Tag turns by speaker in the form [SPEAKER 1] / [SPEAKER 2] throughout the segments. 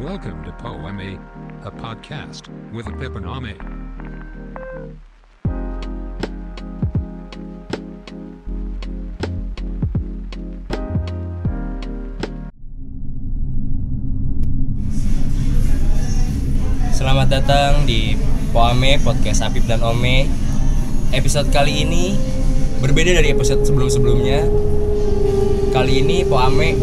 [SPEAKER 1] Welcome to Poeme, a podcast with a Pip and Ame.
[SPEAKER 2] Selamat datang di Poame Podcast Apip dan Ome. Episode kali ini berbeda dari episode sebelum-sebelumnya. Kali ini Poame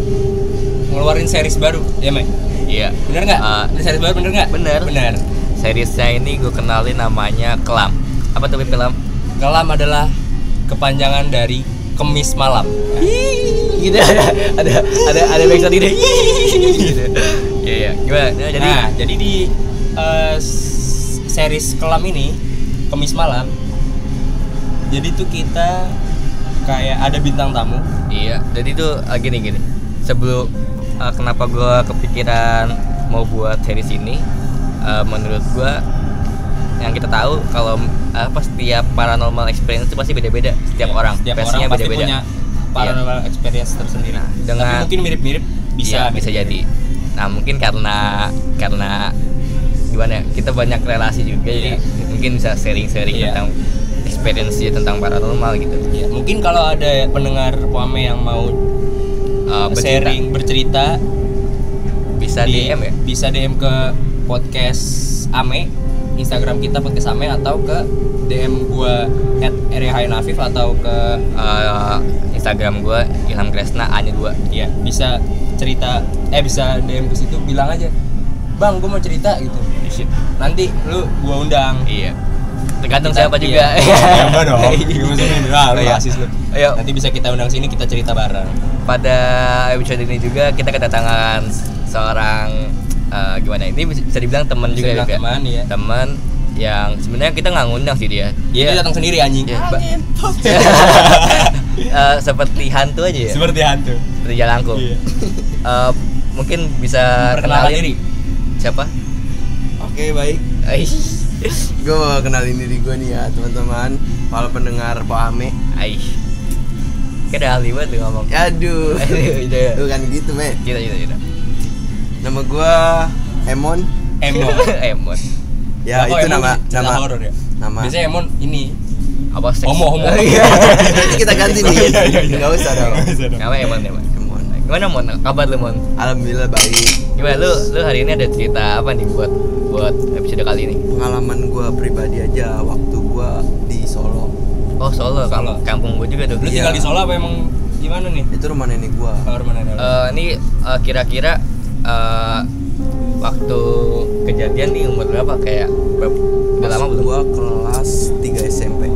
[SPEAKER 2] ngeluarin series baru, ya Mai?
[SPEAKER 3] Iya.
[SPEAKER 2] Bener nggak?
[SPEAKER 3] Ah.
[SPEAKER 2] Ini series baru bener nggak?
[SPEAKER 3] Bener.
[SPEAKER 2] Bener.
[SPEAKER 3] Seriesnya ini gue kenalin namanya Kelam. Apa tuh Pip, Kelam?
[SPEAKER 2] Kelam adalah kepanjangan dari Kemis Malam.
[SPEAKER 3] Gitu ada ada ada ada backsound gitu. gitu. Iya iya. Gimana? Nah, jadi
[SPEAKER 2] nah, jadi di eh, s- series kelam ini Kemis Malam. Jadi tuh kita kayak ada bintang tamu.
[SPEAKER 3] iya. Jadi tuh ah, gini gini. Sebelum ah, kenapa gue kepikiran mau buat series ini? ah, menurut gue yang kita tahu kalau ah, apa setiap paranormal experience itu pasti beda-beda
[SPEAKER 2] Ya,
[SPEAKER 3] setiap orang
[SPEAKER 2] setiap
[SPEAKER 3] versinya
[SPEAKER 2] orang pasti
[SPEAKER 3] beda-beda Iya.
[SPEAKER 2] punya paranormal experience tersendiri
[SPEAKER 3] Nah,
[SPEAKER 2] tapi
[SPEAKER 3] dengan-
[SPEAKER 2] mungkin mirip-mirip Iya, bisa gitu ya.
[SPEAKER 3] bisa gitu. bisa jadi nah mungkin karena karena gimana ya kita banyak relasi juga
[SPEAKER 2] Iya.
[SPEAKER 3] jadi mungkin bisa sharing-sharing
[SPEAKER 2] Iya.
[SPEAKER 3] tentang experience tentang paranormal gitu
[SPEAKER 2] Ya, mungkin kalau ada pendengar Puame yang mau eh,
[SPEAKER 3] Uh, bercerita.
[SPEAKER 2] sharing bercerita
[SPEAKER 3] bisa
[SPEAKER 2] di-
[SPEAKER 3] DM ya
[SPEAKER 2] bisa DM ke podcast Ame Instagram kita podcast Ame atau ke DM gua at Nafif atau ke
[SPEAKER 3] Uh, Instagram gue Ilham Kresna A nya dua
[SPEAKER 2] ya bisa cerita eh bisa DM ke situ bilang aja Bang, gue mau cerita gitu. Nanti lu gua undang.
[SPEAKER 3] iya tergantung
[SPEAKER 2] Kita-
[SPEAKER 3] siapa
[SPEAKER 2] iya.
[SPEAKER 3] juga
[SPEAKER 2] Siapa dong? Iya, maksudnya, ah, lu
[SPEAKER 3] Iya.
[SPEAKER 2] rasis lu.
[SPEAKER 3] Ayo.
[SPEAKER 2] Nanti bisa kita undang sini kita cerita bareng.
[SPEAKER 3] pada episode ini juga kita kedatangan seorang eh, gimana ini bisa bisa dibilang teman
[SPEAKER 2] Bisa
[SPEAKER 3] juga ya,
[SPEAKER 2] dibilang
[SPEAKER 3] Beb, ya?
[SPEAKER 2] teman, iya.
[SPEAKER 3] teman yang sebenarnya kita nggak ngundang sih dia
[SPEAKER 2] Dia datang sendiri anjing.
[SPEAKER 3] Iya, Ba- Eh, seperti hantu aja ya
[SPEAKER 2] Seperti hantu.
[SPEAKER 3] seperti jalangkung
[SPEAKER 2] Iya.
[SPEAKER 3] Eh, mungkin bisa
[SPEAKER 2] Perkenalan
[SPEAKER 3] kenalin
[SPEAKER 2] diri.
[SPEAKER 3] siapa
[SPEAKER 4] Oke baik,
[SPEAKER 3] Aish.
[SPEAKER 4] gue mau kenalin diri gue nih ya teman-teman Kalau pendengar Pak Ame
[SPEAKER 3] Aish. Kayak udah ahli banget lu ngomong
[SPEAKER 4] Aduh,
[SPEAKER 3] Aduh,
[SPEAKER 2] Iya,
[SPEAKER 3] gitu ya.
[SPEAKER 4] bukan gitu me
[SPEAKER 3] Gitu, gitu, gitu.
[SPEAKER 4] Nama gue Emon
[SPEAKER 2] Emon.
[SPEAKER 3] Emon.
[SPEAKER 4] Ya
[SPEAKER 2] Lah, kok
[SPEAKER 4] itu
[SPEAKER 2] Emon
[SPEAKER 4] nama
[SPEAKER 2] cerita
[SPEAKER 4] nama
[SPEAKER 2] horor ya.
[SPEAKER 4] nama.
[SPEAKER 2] Biasanya Emon ini
[SPEAKER 3] Apa seks? Iya.
[SPEAKER 2] homo homo. Iya,
[SPEAKER 4] Nanti kita ganti
[SPEAKER 2] Oh,
[SPEAKER 4] nih, nggak usah dong
[SPEAKER 3] Apa Emon, Emon?
[SPEAKER 4] Emon,
[SPEAKER 3] Gimana Mon? Kabar lu Mon?
[SPEAKER 4] alhamdulillah baik
[SPEAKER 3] Gimana lu lu hari ini ada cerita apa nih buat buat episode kali ini?
[SPEAKER 4] Pengalaman gue pribadi aja waktu gue di Solo
[SPEAKER 3] Oh Solo,
[SPEAKER 2] Solo.
[SPEAKER 3] Kampung, kampung gue juga tuh.
[SPEAKER 2] Lu
[SPEAKER 4] Iya.
[SPEAKER 2] tinggal di Solo apa emang gimana nih?
[SPEAKER 4] Itu rumah nenek gue
[SPEAKER 2] Kamar mana nih?
[SPEAKER 3] Eh, ini eh, kira-kira eh, waktu kejadian nih umur berapa kayak ber- udah lama belum?
[SPEAKER 4] Gue kelas 3 SMP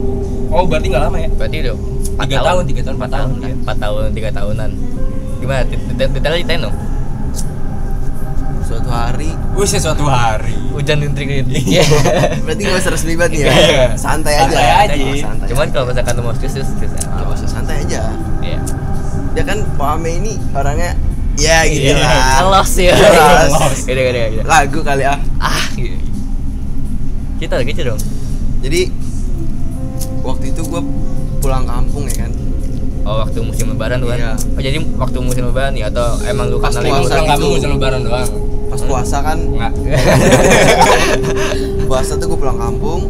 [SPEAKER 2] Oh
[SPEAKER 3] Uh.
[SPEAKER 2] berarti nggak lama ya?
[SPEAKER 3] Berarti udah empat
[SPEAKER 2] Tiga tahun, tiga tahun, empat tahun. iya.
[SPEAKER 3] kan? Empat tahun, tiga tahunan. Gimana? Det- det- Detailnya ceritain dong.
[SPEAKER 4] Suatu hari
[SPEAKER 2] Wih sesuatu hari.
[SPEAKER 3] Hujan gintrik
[SPEAKER 2] Iya.
[SPEAKER 4] Berarti gak usah resmi banget nih ya
[SPEAKER 2] Iya.
[SPEAKER 4] Santai aja
[SPEAKER 2] Santai aja.
[SPEAKER 4] Santai
[SPEAKER 3] Cuman kalau misalkan lu mau serius, serius, serius.
[SPEAKER 4] Gak usah santai aja
[SPEAKER 3] ya. Iya.
[SPEAKER 4] Dia kan Pame ini orangnya Ya gitu
[SPEAKER 2] Iya.
[SPEAKER 4] lah
[SPEAKER 3] Alos ya.
[SPEAKER 4] Alos.
[SPEAKER 3] Gede gede gede.
[SPEAKER 4] Lagu kali ah
[SPEAKER 3] Ah gitu. Kita lagi gitu dong.
[SPEAKER 4] Jadi Waktu itu gue pulang kampung ya kan
[SPEAKER 3] Oh waktu musim lebaran tuh kan?
[SPEAKER 4] Iya.
[SPEAKER 3] Oh jadi waktu musim lebaran ya atau emang lu
[SPEAKER 4] Pas
[SPEAKER 3] karena
[SPEAKER 2] Emang
[SPEAKER 4] puasa
[SPEAKER 2] pulang
[SPEAKER 4] gitu.
[SPEAKER 2] kamu ngucap lebaran doang.
[SPEAKER 4] Pas puasa kan
[SPEAKER 2] Enggak.
[SPEAKER 4] Puasa tuh gue pulang kampung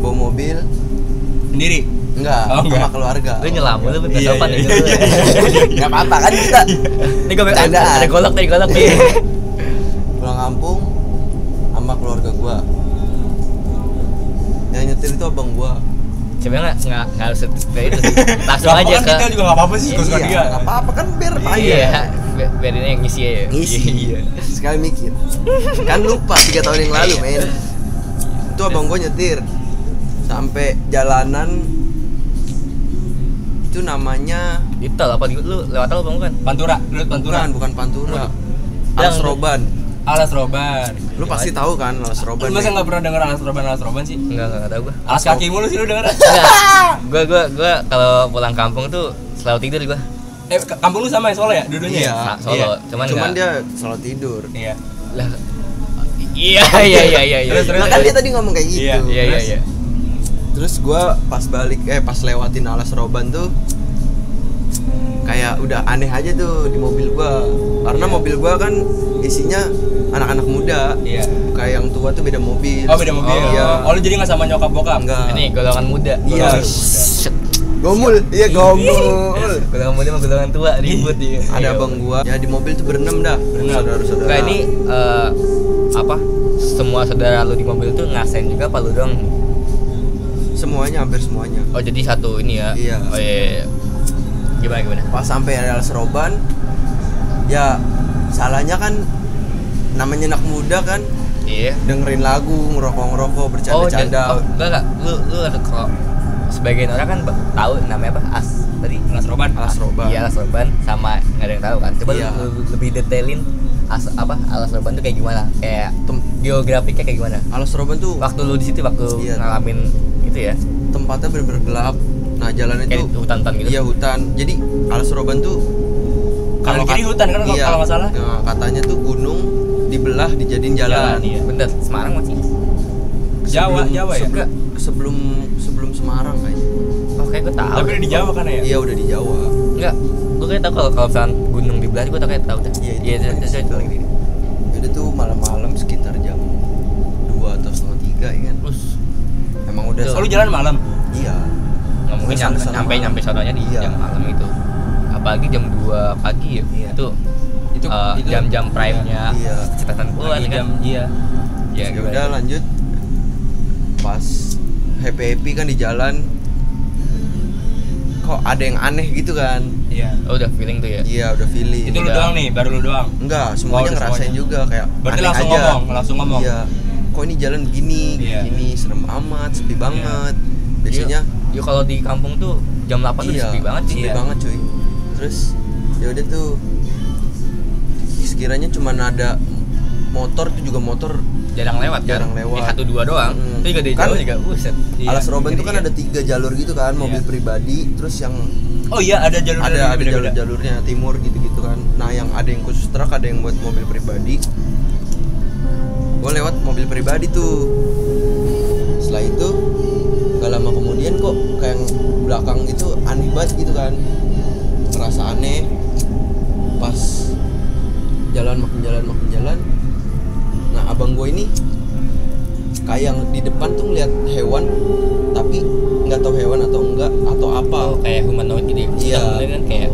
[SPEAKER 4] Bawa mobil
[SPEAKER 2] Sendiri.
[SPEAKER 4] Enggak,
[SPEAKER 2] Oh, enggak.
[SPEAKER 4] sama keluarga
[SPEAKER 3] Lu nyelam lu bentar
[SPEAKER 2] Iya,
[SPEAKER 3] sopan
[SPEAKER 2] iya,
[SPEAKER 3] nih.
[SPEAKER 2] iya, iya.
[SPEAKER 4] Gak apa-apa kan kita
[SPEAKER 3] Ini gue ada
[SPEAKER 4] Candaan.
[SPEAKER 3] ada golok nih golok
[SPEAKER 2] Iya.
[SPEAKER 3] nih.
[SPEAKER 4] Pulang kampung Sama keluarga gue Yang nyetir itu abang gue
[SPEAKER 3] Coba nggak nggak nggak harus kayak itu sih. langsung
[SPEAKER 2] Gak apa-apa
[SPEAKER 3] aja ke
[SPEAKER 2] kan detail juga nggak apa-apa sih. Suka-suka
[SPEAKER 4] Iya,
[SPEAKER 2] dia.
[SPEAKER 4] nggak apa-apa kan biar
[SPEAKER 3] iya
[SPEAKER 4] panjang
[SPEAKER 3] bi- biar ini yang ngisi ya.
[SPEAKER 4] Ngisi.
[SPEAKER 3] Iya.
[SPEAKER 4] sekali mikir kan lupa tiga tahun yang
[SPEAKER 3] Iya.
[SPEAKER 4] lalu men itu abang gue nyetir sampai jalanan itu namanya
[SPEAKER 3] Di tol apa di- lu lewat tol apa bukan?
[SPEAKER 2] Pantura, lu Pantura.
[SPEAKER 4] pantura bukan pantura
[SPEAKER 3] Yang- Iya.
[SPEAKER 4] alas roban
[SPEAKER 2] Alas roban.
[SPEAKER 4] lu pasti tahu kan alas
[SPEAKER 2] Lu
[SPEAKER 4] roban
[SPEAKER 2] masa
[SPEAKER 4] men?
[SPEAKER 2] nggak pernah denger alas roban alas roban sih?
[SPEAKER 3] Enggak enggak tahu gua.
[SPEAKER 2] Alas kaki mulu sih lu denger.
[SPEAKER 3] Enggak. Gua gua gua kalau pulang kampung tuh selalu tidur gua.
[SPEAKER 2] Eh k- kampung lu sama ya Solo ya? Duduknya
[SPEAKER 4] Iya.
[SPEAKER 2] ya?
[SPEAKER 3] Sa- Solo. Cuman
[SPEAKER 4] cuman
[SPEAKER 3] enggak.
[SPEAKER 4] dia selalu tidur
[SPEAKER 2] Iya.
[SPEAKER 3] Lah. Iya iya iya iya iya.
[SPEAKER 2] Terus, terus.
[SPEAKER 4] Lah kan dia tadi ngomong kayak gitu
[SPEAKER 2] Iya,
[SPEAKER 3] Iya iya
[SPEAKER 2] Terus?
[SPEAKER 3] iya.
[SPEAKER 4] terus gue pas balik eh pas lewatin alas roban tuh kayak udah aneh aja tuh di mobil gua karena mobil gua kan isinya anak-anak muda
[SPEAKER 2] Iya.
[SPEAKER 4] kayak yang tua tuh beda mobil
[SPEAKER 2] Oh beda mobil.
[SPEAKER 4] iya
[SPEAKER 2] Oh, lu jadi nggak sama nyokap bokap?
[SPEAKER 4] enggak
[SPEAKER 3] ini golongan muda
[SPEAKER 4] iya
[SPEAKER 2] Golongan
[SPEAKER 4] gomul iya gomul
[SPEAKER 3] golongan muda sama golongan tua ribut dia
[SPEAKER 4] ada abang gua ya di mobil tuh berenam dah
[SPEAKER 2] Berenam. Nah,
[SPEAKER 4] saudara-saudara
[SPEAKER 3] Enggak ini eh, apa semua saudara lu di mobil tuh ngasain juga apa lu dong
[SPEAKER 4] semuanya hampir semuanya
[SPEAKER 3] oh jadi satu ini ya
[SPEAKER 4] Iya.
[SPEAKER 3] oh iya, iya. gimana gimana
[SPEAKER 4] pas sampai areal seroban ya salahnya kan namanya anak muda kan
[SPEAKER 3] iya
[SPEAKER 4] dengerin lagu ngerokok ngerokok bercanda
[SPEAKER 3] dan-
[SPEAKER 4] canda
[SPEAKER 3] oh, enggak enggak lu lu ada kalau sebagian orang kan ba- tahu namanya apa as tadi
[SPEAKER 2] Kelas roban.
[SPEAKER 4] alas roban
[SPEAKER 3] iya alas roban sama nggak ada yang tahu kan coba lu-
[SPEAKER 4] Iya.
[SPEAKER 3] lu, lebih detailin as apa alas roban tuh kayak gimana kayak
[SPEAKER 4] Tem-
[SPEAKER 3] geografiknya kayak gimana
[SPEAKER 4] alas roban tuh
[SPEAKER 3] waktu lu di situ waktu
[SPEAKER 4] Iya.
[SPEAKER 3] ngalamin itu ya
[SPEAKER 4] tempatnya bener-bener gelap nah jalannya
[SPEAKER 3] kayak
[SPEAKER 4] tuh
[SPEAKER 3] di hutan-hutan gitu
[SPEAKER 4] iya hutan jadi alas roban tuh
[SPEAKER 2] Kanan kiri
[SPEAKER 4] kat-
[SPEAKER 2] hutan kan kalau-
[SPEAKER 4] iya.
[SPEAKER 2] kalau nggak salah?
[SPEAKER 4] Nah, katanya tuh gunung dibelah dijadiin jalan,
[SPEAKER 2] Jalan, iya.
[SPEAKER 3] bener Semarang masih
[SPEAKER 2] Jawa,
[SPEAKER 4] Sebelum-
[SPEAKER 2] Jawa ya. Iya.
[SPEAKER 4] sebelum, sebelum sebelum Semarang kayaknya
[SPEAKER 3] oh kayak gue tahu
[SPEAKER 2] Tapi udah di Jawa kan ya?
[SPEAKER 4] iya udah di Jawa
[SPEAKER 3] enggak gue kayak tahu kalau kalau misalkan gunung di belah gue tau kayak tahu dah
[SPEAKER 4] Iya, itu-
[SPEAKER 3] itu itu itu lagi
[SPEAKER 4] jadi tuh malam-malam sekitar jam 2 atau setengah tiga ya kan
[SPEAKER 3] terus
[SPEAKER 4] emang udah
[SPEAKER 3] Tuh.
[SPEAKER 2] Oh,
[SPEAKER 4] sam-
[SPEAKER 2] lu jalan malam.
[SPEAKER 4] iya
[SPEAKER 3] nggak mungkin
[SPEAKER 4] Terus
[SPEAKER 3] nyampe
[SPEAKER 4] sampai sana
[SPEAKER 3] nyampe
[SPEAKER 4] malam.
[SPEAKER 3] nyampe sononya di
[SPEAKER 4] Iya.
[SPEAKER 3] jam malam itu apalagi jam 2 pagi ya
[SPEAKER 4] Iya.
[SPEAKER 3] itu
[SPEAKER 2] Itu
[SPEAKER 3] eh,
[SPEAKER 2] itu-
[SPEAKER 3] jam-jam prime nya
[SPEAKER 4] Iya.
[SPEAKER 3] cetatan
[SPEAKER 2] Lagi
[SPEAKER 3] kuat
[SPEAKER 2] jam
[SPEAKER 3] kan
[SPEAKER 2] iya.
[SPEAKER 3] ya
[SPEAKER 4] ya
[SPEAKER 3] gimana?
[SPEAKER 4] udah lanjut pas happy happy kan di jalan kok ada yang aneh gitu kan
[SPEAKER 2] Iya.
[SPEAKER 3] oh, udah feeling tuh ya
[SPEAKER 4] iya udah feeling
[SPEAKER 2] Itu lu
[SPEAKER 3] Udah.
[SPEAKER 2] doang nih, baru lu doang.
[SPEAKER 4] Enggak, semuanya
[SPEAKER 2] Oh, udah
[SPEAKER 4] ngerasain
[SPEAKER 2] semuanya.
[SPEAKER 4] juga kayak
[SPEAKER 2] Berarti
[SPEAKER 4] aneh
[SPEAKER 2] langsung
[SPEAKER 4] aja.
[SPEAKER 2] ngomong, langsung ngomong.
[SPEAKER 4] Iya. Kok ini jalan begini,
[SPEAKER 2] Iya.
[SPEAKER 4] gini, serem amat, sepi banget.
[SPEAKER 3] Iya,
[SPEAKER 4] Biasanya
[SPEAKER 3] iya, kalau di kampung tuh jam 8 tuh
[SPEAKER 4] iya,
[SPEAKER 3] sepi banget sih
[SPEAKER 4] sepi
[SPEAKER 2] Iya.
[SPEAKER 4] banget, cuy. Terus ya udah tuh sekiranya cuman ada motor tuh juga motor
[SPEAKER 3] jarang lewat kan?
[SPEAKER 4] Jarang lewat.
[SPEAKER 3] Ya, satu dua doang
[SPEAKER 4] Mm.
[SPEAKER 3] itu juga di
[SPEAKER 4] Kan-
[SPEAKER 3] Jawa juga buset
[SPEAKER 2] Iya,
[SPEAKER 4] alas roban itu kan
[SPEAKER 3] iya.
[SPEAKER 4] ada tiga jalur gitu kan mobil
[SPEAKER 2] Iya.
[SPEAKER 4] pribadi terus yang
[SPEAKER 2] Oh iya, ada jalur
[SPEAKER 4] ada ada
[SPEAKER 2] beda-beda.
[SPEAKER 4] jalur-jalurnya timur gitu-gitu kan nah yang ada yang khusus truk ada yang buat mobil pribadi gue lewat mobil pribadi tuh setelah itu gak lama kemudian kok kayak yang belakang itu aneh banget gitu kan terasa aneh pas jalan makin jalan makin jalan nah abang gue ini kayak yang di depan tuh ngeliat hewan tapi nggak tahu hewan atau enggak atau apa
[SPEAKER 3] Oh, kayak humanoid gitu ya
[SPEAKER 4] Iya.
[SPEAKER 3] Sebenarnya kan kayak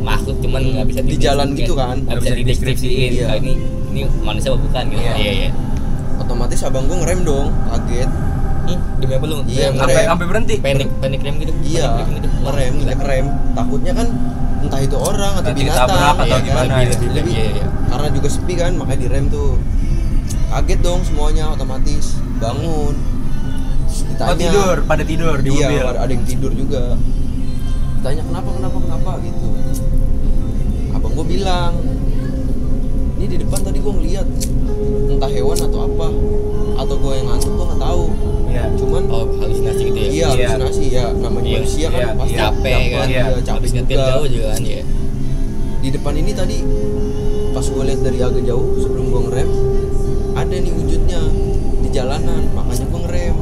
[SPEAKER 3] makhluk cuman nggak bisa
[SPEAKER 4] Di jalan gitu kan?
[SPEAKER 3] nggak bisa dideskripsiin
[SPEAKER 4] Iya.
[SPEAKER 3] kalau ini ini manusia apa bukan gitu
[SPEAKER 4] Iya.
[SPEAKER 3] iya iya
[SPEAKER 4] otomatis abang gue ngerem dong kaget
[SPEAKER 3] Ih, demi apa lu
[SPEAKER 4] Iya,
[SPEAKER 3] Demi apa?
[SPEAKER 2] Sampai
[SPEAKER 4] Rem.
[SPEAKER 2] sampai berhenti.
[SPEAKER 3] panik panik rem gitu
[SPEAKER 4] iya
[SPEAKER 3] Panik rem gitu. Wah,
[SPEAKER 4] ngerem
[SPEAKER 3] gila.
[SPEAKER 4] ngerem takutnya kan entah itu orang atau
[SPEAKER 2] Nanti
[SPEAKER 4] binatang
[SPEAKER 2] ditabrak atau
[SPEAKER 4] ya kan?
[SPEAKER 2] gimana,
[SPEAKER 3] Lebih- lebih-
[SPEAKER 4] Jadi,
[SPEAKER 3] lebih- iya iya
[SPEAKER 4] karena juga sepi kan makanya direm tuh kaget dong semuanya otomatis bangun Terus ditanya
[SPEAKER 2] Oh tidur, pada tidur di
[SPEAKER 4] iya
[SPEAKER 2] mobil.
[SPEAKER 4] ada ada yang tidur juga tanya kenapa kenapa kenapa gitu abang gue bilang ini di depan tadi gue ngeliat entah hewan atau apa atau gue yang ngantuk gue nggak tahu
[SPEAKER 2] Iya.
[SPEAKER 4] cuman
[SPEAKER 3] oh halusinasi gitu ya
[SPEAKER 4] Iya,
[SPEAKER 2] Iya.
[SPEAKER 4] halusinasi ya. Namanya
[SPEAKER 3] Iya,
[SPEAKER 4] manusia kan
[SPEAKER 2] iya,
[SPEAKER 4] pasti
[SPEAKER 2] iya.
[SPEAKER 3] capek kan
[SPEAKER 4] iya, capek
[SPEAKER 3] habis nyetir
[SPEAKER 4] juga.
[SPEAKER 3] jauh juga kan ya
[SPEAKER 4] Di depan ini tadi pas gue lihat dari agak jauh sebelum gue ngerem ada nih wujudnya di jalanan makanya gue ngerem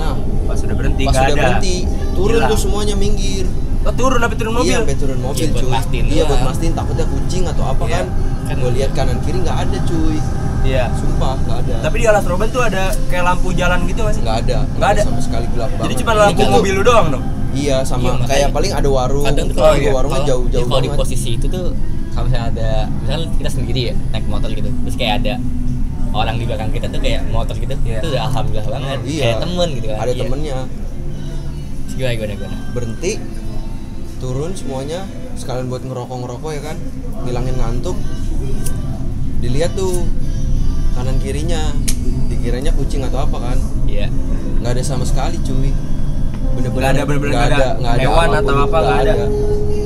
[SPEAKER 4] nah
[SPEAKER 2] Pas udah berhenti
[SPEAKER 4] pas
[SPEAKER 2] nggak
[SPEAKER 4] udah
[SPEAKER 2] ada.
[SPEAKER 4] berhenti turun
[SPEAKER 2] Hilang.
[SPEAKER 4] tuh semuanya minggir
[SPEAKER 2] Oh, turun tapi turun mobil.
[SPEAKER 4] iya sampai turun mobil
[SPEAKER 3] Iya, buat
[SPEAKER 4] cuy
[SPEAKER 3] mastiin
[SPEAKER 4] iya buat
[SPEAKER 3] doang.
[SPEAKER 4] mastiin takutnya kucing atau apa
[SPEAKER 2] Iya,
[SPEAKER 4] kan
[SPEAKER 3] kan.
[SPEAKER 4] gue lihat kanan kiri nggak ada cuy
[SPEAKER 2] Iya.
[SPEAKER 4] sumpah nggak ada
[SPEAKER 2] Tapi di alas roban tuh ada kayak lampu jalan gitu masih.
[SPEAKER 4] nggak ada
[SPEAKER 2] Nggak ada.
[SPEAKER 4] sama sekali gelap
[SPEAKER 2] Jadi
[SPEAKER 4] banget
[SPEAKER 2] cuma
[SPEAKER 3] Ini
[SPEAKER 2] lampu
[SPEAKER 3] kan lu-
[SPEAKER 2] mobil lu doang dong.
[SPEAKER 4] iya sama
[SPEAKER 3] Iya, makanya.
[SPEAKER 4] kayak paling ada warung
[SPEAKER 3] kadang tuh
[SPEAKER 4] kalau
[SPEAKER 3] kalau iya,
[SPEAKER 4] warungnya
[SPEAKER 3] kalau-
[SPEAKER 4] jauh-jauh
[SPEAKER 3] iya, kalau di
[SPEAKER 4] banget.
[SPEAKER 3] posisi itu tuh kalau misalnya ada misalnya kita sendiri ya naik motor gitu terus kayak ada orang di belakang kita tuh kayak motor gitu
[SPEAKER 2] Iya.
[SPEAKER 3] itu udah alhamdulillah banget
[SPEAKER 4] Iya.
[SPEAKER 3] kayak temen gitu kan
[SPEAKER 4] ada
[SPEAKER 3] Iya.
[SPEAKER 4] temennya
[SPEAKER 3] Terus gimana gimana gimana
[SPEAKER 4] berhenti turun semuanya sekalian buat ngerokok ngerokok ya kan ngilangin ngantuk dilihat tuh kanan kirinya dikiranya kucing atau apa kan
[SPEAKER 3] iya
[SPEAKER 4] nggak ada sama sekali cuy
[SPEAKER 2] Nggak ada, bener-bener nggak ada. Hewan
[SPEAKER 4] apapun,
[SPEAKER 2] atau apa,
[SPEAKER 4] nggak
[SPEAKER 2] nggak ada.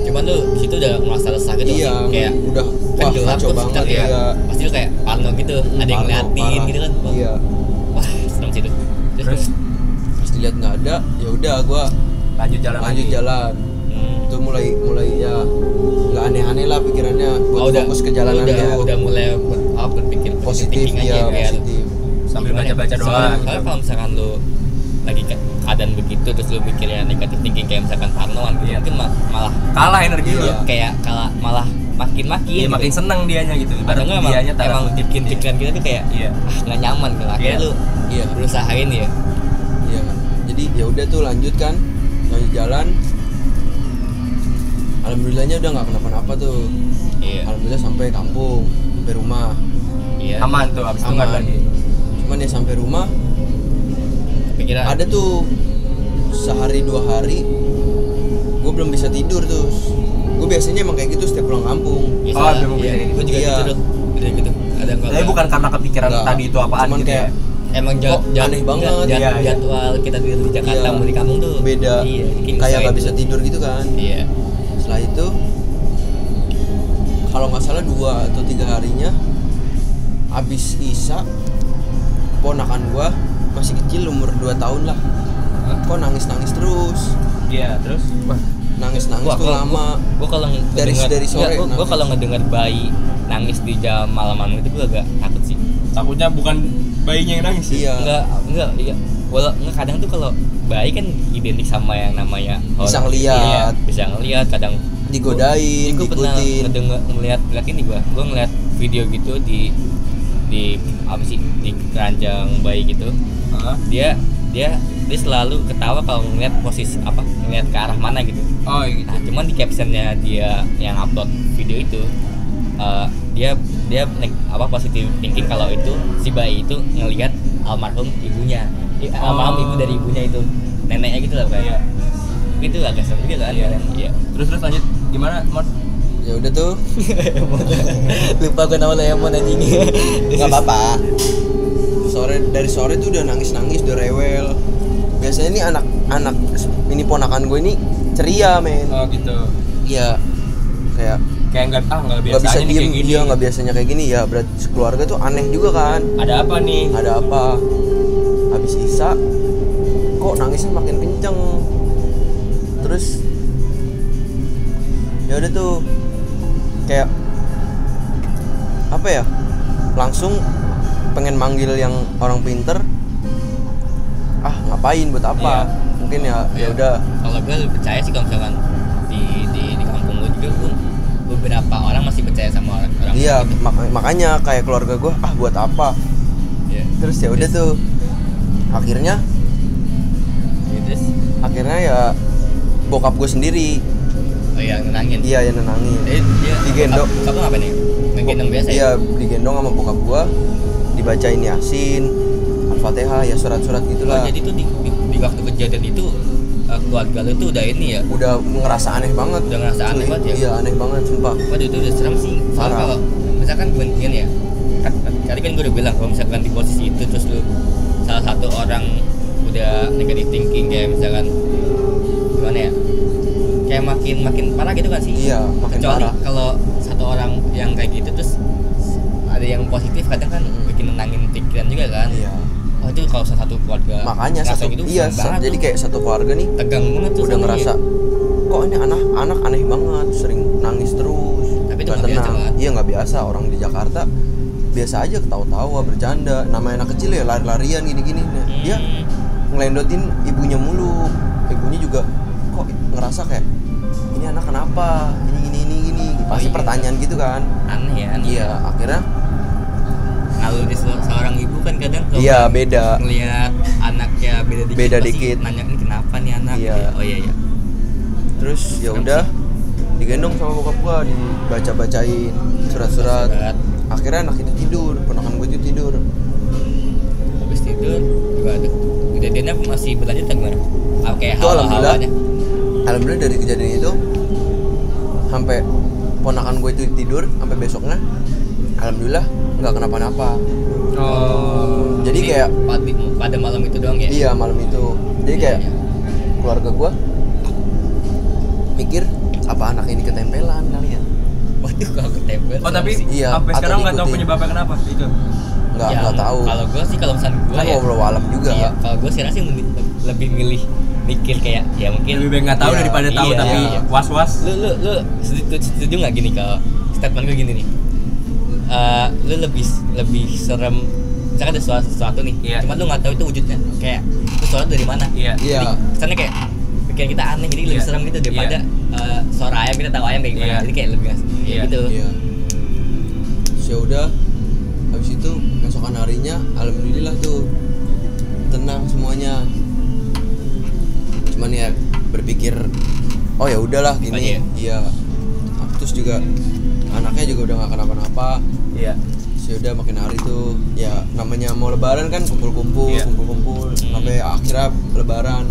[SPEAKER 3] cuman lu di situ udah merasa resah gitu
[SPEAKER 4] iya
[SPEAKER 3] sih? kayak
[SPEAKER 4] udah
[SPEAKER 3] kan
[SPEAKER 4] wah
[SPEAKER 3] gelap
[SPEAKER 4] kacau
[SPEAKER 3] tuh
[SPEAKER 4] banget
[SPEAKER 3] sekitar ya pasti lu kayak parno gitu ada yang
[SPEAKER 4] Parno,
[SPEAKER 3] ngeliatin
[SPEAKER 4] parah.
[SPEAKER 3] gitu kan Wah,
[SPEAKER 4] iya
[SPEAKER 3] wah serem sih itu
[SPEAKER 2] Terus?
[SPEAKER 3] terus
[SPEAKER 4] terus dilihat nggak ada ya udah gua
[SPEAKER 2] Lanjut jalan
[SPEAKER 4] lanjut
[SPEAKER 2] lagi.
[SPEAKER 4] jalan
[SPEAKER 3] hmm,
[SPEAKER 4] itu mulai mulai ya nggak aneh-aneh lah pikirannya buat
[SPEAKER 3] oh, udah
[SPEAKER 4] fokus ke jalanan
[SPEAKER 3] udah,
[SPEAKER 4] dulu.
[SPEAKER 3] udah mulai ber, oh, berpikir positif
[SPEAKER 4] positif
[SPEAKER 3] thinking aja
[SPEAKER 4] ya
[SPEAKER 3] biar
[SPEAKER 4] positif
[SPEAKER 2] Sambil
[SPEAKER 3] Gimana ya?
[SPEAKER 2] baca-baca doang.
[SPEAKER 3] Soalnya- soalnya kalau misalkan lu lagi ke- ada
[SPEAKER 2] keadaan begitu terus lu mikirnya negatif thinking kayak misalkan parnoan gitu
[SPEAKER 3] Iya.
[SPEAKER 2] mungkin ma- malah
[SPEAKER 3] kalah energi lu
[SPEAKER 4] Iya.
[SPEAKER 2] kayak kalah malah makin makin
[SPEAKER 3] Iya, makin seneng dianya gitu
[SPEAKER 2] atau
[SPEAKER 3] ibarat
[SPEAKER 2] enggak emang,
[SPEAKER 3] dianya tanda
[SPEAKER 2] emang
[SPEAKER 3] kutip.
[SPEAKER 2] bikin pikiran kita tuh kayak
[SPEAKER 3] Iya.
[SPEAKER 2] ah nggak nyaman gitu akhirnya
[SPEAKER 3] Iya.
[SPEAKER 2] lu
[SPEAKER 4] Iya.
[SPEAKER 2] berusahain ya
[SPEAKER 4] Iya. Jadi ya udah tuh lanjut kan. Lanjut jalan. Alhamdulillahnya udah nggak kenapa-napa tuh.
[SPEAKER 2] iya
[SPEAKER 4] Alhamdulillah sampai kampung, sampai rumah.
[SPEAKER 2] iya
[SPEAKER 3] aman tuh abis itu nggak ada
[SPEAKER 4] Aman.
[SPEAKER 3] lagi
[SPEAKER 4] Cuman ya sampai rumah
[SPEAKER 2] pikiran
[SPEAKER 4] ada tuh sehari dua hari gue belum bisa tidur tuh. Gue biasanya emang kayak gitu setiap pulang kampung.
[SPEAKER 2] Biasa
[SPEAKER 3] Oh,
[SPEAKER 2] lah.
[SPEAKER 3] ada mobil
[SPEAKER 2] Iya,
[SPEAKER 3] ini.
[SPEAKER 2] gua juga
[SPEAKER 4] Iya.
[SPEAKER 2] gitu dong Udah gitu ada nggak
[SPEAKER 3] tapi bukan karena kepikiran
[SPEAKER 4] Nggak.
[SPEAKER 3] tadi itu apaan
[SPEAKER 4] Cuman
[SPEAKER 3] gitu
[SPEAKER 4] kayak
[SPEAKER 3] ya.
[SPEAKER 2] emang jad,
[SPEAKER 4] Kok
[SPEAKER 2] jad-
[SPEAKER 4] aneh banget.
[SPEAKER 2] jad- jad-
[SPEAKER 3] Iya, iya.
[SPEAKER 2] jadwal kita tidur di Jakarta
[SPEAKER 4] Iya.
[SPEAKER 2] mau di kampung tuh
[SPEAKER 4] beda
[SPEAKER 2] iya, bikin
[SPEAKER 4] kayak
[SPEAKER 2] susah
[SPEAKER 4] nggak
[SPEAKER 2] itu.
[SPEAKER 4] bisa tidur gitu kan
[SPEAKER 2] iya
[SPEAKER 4] setelah itu kalau nggak salah dua atau tiga harinya abis isa ponakan gua masih kecil umur 2 tahun lah kok nangis nangis terus
[SPEAKER 3] iya terus
[SPEAKER 4] nangis nangis
[SPEAKER 2] Wah,
[SPEAKER 4] tuh
[SPEAKER 2] gua-
[SPEAKER 4] lama
[SPEAKER 2] gue kalau ngedengar
[SPEAKER 4] Dari- dari sore
[SPEAKER 2] Nggak, gua, gua
[SPEAKER 4] nangis.
[SPEAKER 2] kalau ngedengar bayi nangis di jam malaman itu gue agak takut sih
[SPEAKER 3] takutnya bukan bayinya yang nangis ya?
[SPEAKER 4] iya
[SPEAKER 2] enggak enggak iya walau enggak kadang tuh kalau bayi kan identik sama yang namanya
[SPEAKER 4] Bisa
[SPEAKER 2] horor.
[SPEAKER 4] ngeliat.
[SPEAKER 2] Iya, bisa ngeliat kadang
[SPEAKER 4] digodain
[SPEAKER 2] gue pernah
[SPEAKER 4] diikutin
[SPEAKER 2] ngedenger ngeliat ngeliat ini gua gua ngeliat video gitu di di apa sih di keranjang bayi gitu
[SPEAKER 3] Hah?
[SPEAKER 2] dia dia dia selalu ketawa kalau ngeliat posisi apa ngeliat ke arah mana gitu
[SPEAKER 3] oh iya gitu
[SPEAKER 2] Nah, cuman di captionnya dia yang upload video itu eh, dia dia neg- apa positif thinking kalau itu si bayi itu ngelihat almarhum ibunya I-
[SPEAKER 3] Oh.
[SPEAKER 2] almarhum ibu dari ibunya itu neneknya gitu lah kayak itu agak serem juga kan
[SPEAKER 3] Iya.
[SPEAKER 2] kan? iya
[SPEAKER 3] terus terus lanjut gimana Mon?
[SPEAKER 4] ya udah tuh
[SPEAKER 2] lupa gue nama Lemon anjing
[SPEAKER 4] ya, nggak apa-apa sore dari sore tuh udah nangis nangis udah rewel biasanya ini anak anak ini ponakan gue ini ceria men
[SPEAKER 3] oh gitu
[SPEAKER 4] Iya. Kayak
[SPEAKER 3] kayak nggak ah nggak
[SPEAKER 4] nggak bisa
[SPEAKER 3] biasanya nih
[SPEAKER 4] diem,
[SPEAKER 3] kayak gini
[SPEAKER 4] dia nggak biasanya kayak gini ya. Berarti keluarga tuh aneh juga kan.
[SPEAKER 3] ada apa nih
[SPEAKER 4] Ada apa? Habis isa kok nangisnya makin kenceng. Terus ya udah tuh kayak apa ya? Langsung pengen manggil yang orang pinter. Ah, ngapain buat apa? Mungkin ya ya udah
[SPEAKER 2] kalau gue lebih percaya sih kalau misalkan di di, di kampung gue juga pun beberapa orang masih percaya sama orang orang gitu.
[SPEAKER 4] Iya, mak- makanya kayak keluarga gue ah buat apa?
[SPEAKER 2] Iya.
[SPEAKER 4] terus ya udah tuh akhirnya
[SPEAKER 2] Iya, terus
[SPEAKER 4] akhirnya ya bokap gue sendiri
[SPEAKER 2] oh iya nenangin
[SPEAKER 4] dia yang nenangin
[SPEAKER 2] Jadi dia
[SPEAKER 4] Digendong.
[SPEAKER 2] Kamu, kamu apa nih? Menggendong biasa ya?
[SPEAKER 4] iya digendong sama bokap gue dibacain yasin al-fatihah ya surat-surat
[SPEAKER 2] Oh,
[SPEAKER 4] gitulah
[SPEAKER 2] jadi tuh di, di, di waktu kejadian itu eh, keluarga lu tuh udah ini ya.
[SPEAKER 4] udah ngerasa aneh banget
[SPEAKER 2] Udah ngerasa
[SPEAKER 4] cuy.
[SPEAKER 2] aneh banget ya?
[SPEAKER 4] iya aneh banget sumpah
[SPEAKER 2] Waduh itu udah serem sih. Soalnya kalau
[SPEAKER 4] Parah.
[SPEAKER 2] misalkan gue gini ya. kan- Tadi kan gue udah bilang kalau misalkan di posisi itu terus lu salah satu orang udah negative thinking kayak misalkan gimana ya? Kayak makin makin parah gitu kan sih?
[SPEAKER 4] iya makin
[SPEAKER 2] kecuali
[SPEAKER 4] parah
[SPEAKER 2] kalau satu orang yang kayak gitu terus ada yang positif kadang kan
[SPEAKER 4] Mm.
[SPEAKER 2] bikin nenangin pikiran juga kan
[SPEAKER 4] iya
[SPEAKER 2] oh itu kalau salah satu keluarga
[SPEAKER 4] makanya
[SPEAKER 2] ngerasa gitu
[SPEAKER 4] satu iya
[SPEAKER 2] serem
[SPEAKER 4] sa-
[SPEAKER 2] banget tuh.
[SPEAKER 4] jadi
[SPEAKER 2] ya?
[SPEAKER 4] kayak satu keluarga nih
[SPEAKER 2] tegang banget tuh
[SPEAKER 4] udah
[SPEAKER 2] sama
[SPEAKER 4] ngerasa
[SPEAKER 2] dia.
[SPEAKER 4] kok ini anak-anak aneh banget sering nangis terus
[SPEAKER 2] Tapi itu
[SPEAKER 4] nggak
[SPEAKER 2] nggak biasa, kan?
[SPEAKER 4] iya nggak biasa orang di Jakarta biasa aja ketawa-tawa bercanda namanya anak kecil ya lari-larian gini-gini Nah,
[SPEAKER 2] Hmm,
[SPEAKER 4] dia ngelendotin ibunya mulu ibunya juga kok ngerasa kayak ini anak kenapa ini ini ini ini
[SPEAKER 2] Oh,
[SPEAKER 4] pasti
[SPEAKER 2] iya.
[SPEAKER 4] pertanyaan gitu kan
[SPEAKER 2] aneh ya aneh.
[SPEAKER 4] iya akhirnya
[SPEAKER 2] kalau dia se- seorang ibu kan kadang kalau
[SPEAKER 4] iya beda
[SPEAKER 2] ngelihat anaknya beda dikit
[SPEAKER 4] Beda
[SPEAKER 2] pasti
[SPEAKER 4] dikit.
[SPEAKER 2] nanya ini kenapa nih anak
[SPEAKER 4] Iya.
[SPEAKER 2] Ya, oh iya iya
[SPEAKER 4] terus ya
[SPEAKER 2] Serem
[SPEAKER 4] udah digendong sama bokap gua dibaca-bacain surat-surat
[SPEAKER 2] Surat.
[SPEAKER 4] akhirnya anak itu tidur ponakan gue itu tidur
[SPEAKER 2] habis tidur juga ada kejadiannya masih berlanjut kan gimana Ah, kayak
[SPEAKER 4] Itu alhamdulillah.
[SPEAKER 2] hawa-hawanya
[SPEAKER 4] alhamdulillah dari kejadian itu sampai ponakan gue itu tidur sampai besoknya alhamdulillah nggak kenapa-napa
[SPEAKER 3] oh
[SPEAKER 4] jadi kayak
[SPEAKER 2] pad- pada malam itu doang ya
[SPEAKER 4] iya malam itu jadi kayak
[SPEAKER 2] Iya,
[SPEAKER 4] keluarga gue mikir apa anak ini ketempelan kali ya
[SPEAKER 2] iya. waduh kalau ketempel
[SPEAKER 3] oh tapi
[SPEAKER 2] serem sih.
[SPEAKER 4] Iya,
[SPEAKER 3] sampai
[SPEAKER 4] atau
[SPEAKER 3] sekarang nggak tahu
[SPEAKER 4] diikuti.
[SPEAKER 3] penyebabnya kenapa itu
[SPEAKER 4] nggak
[SPEAKER 2] Ya,
[SPEAKER 4] nggak tahu
[SPEAKER 2] kalau gue sih kalau misalnya gue
[SPEAKER 4] kan
[SPEAKER 2] ya
[SPEAKER 4] ngobrol alam juga
[SPEAKER 2] iya, kalau gue sih rasa mending- lebih milih mikir kayak ya mungkin
[SPEAKER 3] lebih baik nggak tahu
[SPEAKER 4] Iya.
[SPEAKER 3] daripada tahu
[SPEAKER 2] Iya.
[SPEAKER 3] tapi
[SPEAKER 4] Iya.
[SPEAKER 3] was was
[SPEAKER 2] lu lu lu setuju setuju nggak gini kalau statement gue gini nih Eh, lu lebih lebih serem
[SPEAKER 5] misalkan ada sesuatu, sesuatu nih
[SPEAKER 3] Iya.
[SPEAKER 5] cuman lu nggak tahu itu wujudnya kayak itu sesuatu dari mana
[SPEAKER 3] Iya.
[SPEAKER 4] Iya.
[SPEAKER 5] kesannya kayak pikiran kita aneh jadi lebih
[SPEAKER 3] Iya.
[SPEAKER 5] serem gitu daripada eh, suara ayam kita tahu ayam kayak gimana
[SPEAKER 3] Iya.
[SPEAKER 5] jadi kayak lebih ngas- kayak
[SPEAKER 3] Iya.
[SPEAKER 5] gitu
[SPEAKER 4] Iya. Terus Ya udah. Habis itu keesokan harinya alhamdulillah tuh tenang semuanya. Cuman ya berpikir oh ya udahlah
[SPEAKER 5] Aja ya?
[SPEAKER 4] gini. Iya. Terus juga anaknya juga udah nggak kenapa-napa.
[SPEAKER 3] Iya.
[SPEAKER 4] Terus ya udah makin hari tuh ya namanya mau lebaran kan kumpul-kumpul,
[SPEAKER 3] Iya.
[SPEAKER 4] kumpul-kumpul
[SPEAKER 2] Hmm.
[SPEAKER 4] sampai akhirnya lebaran.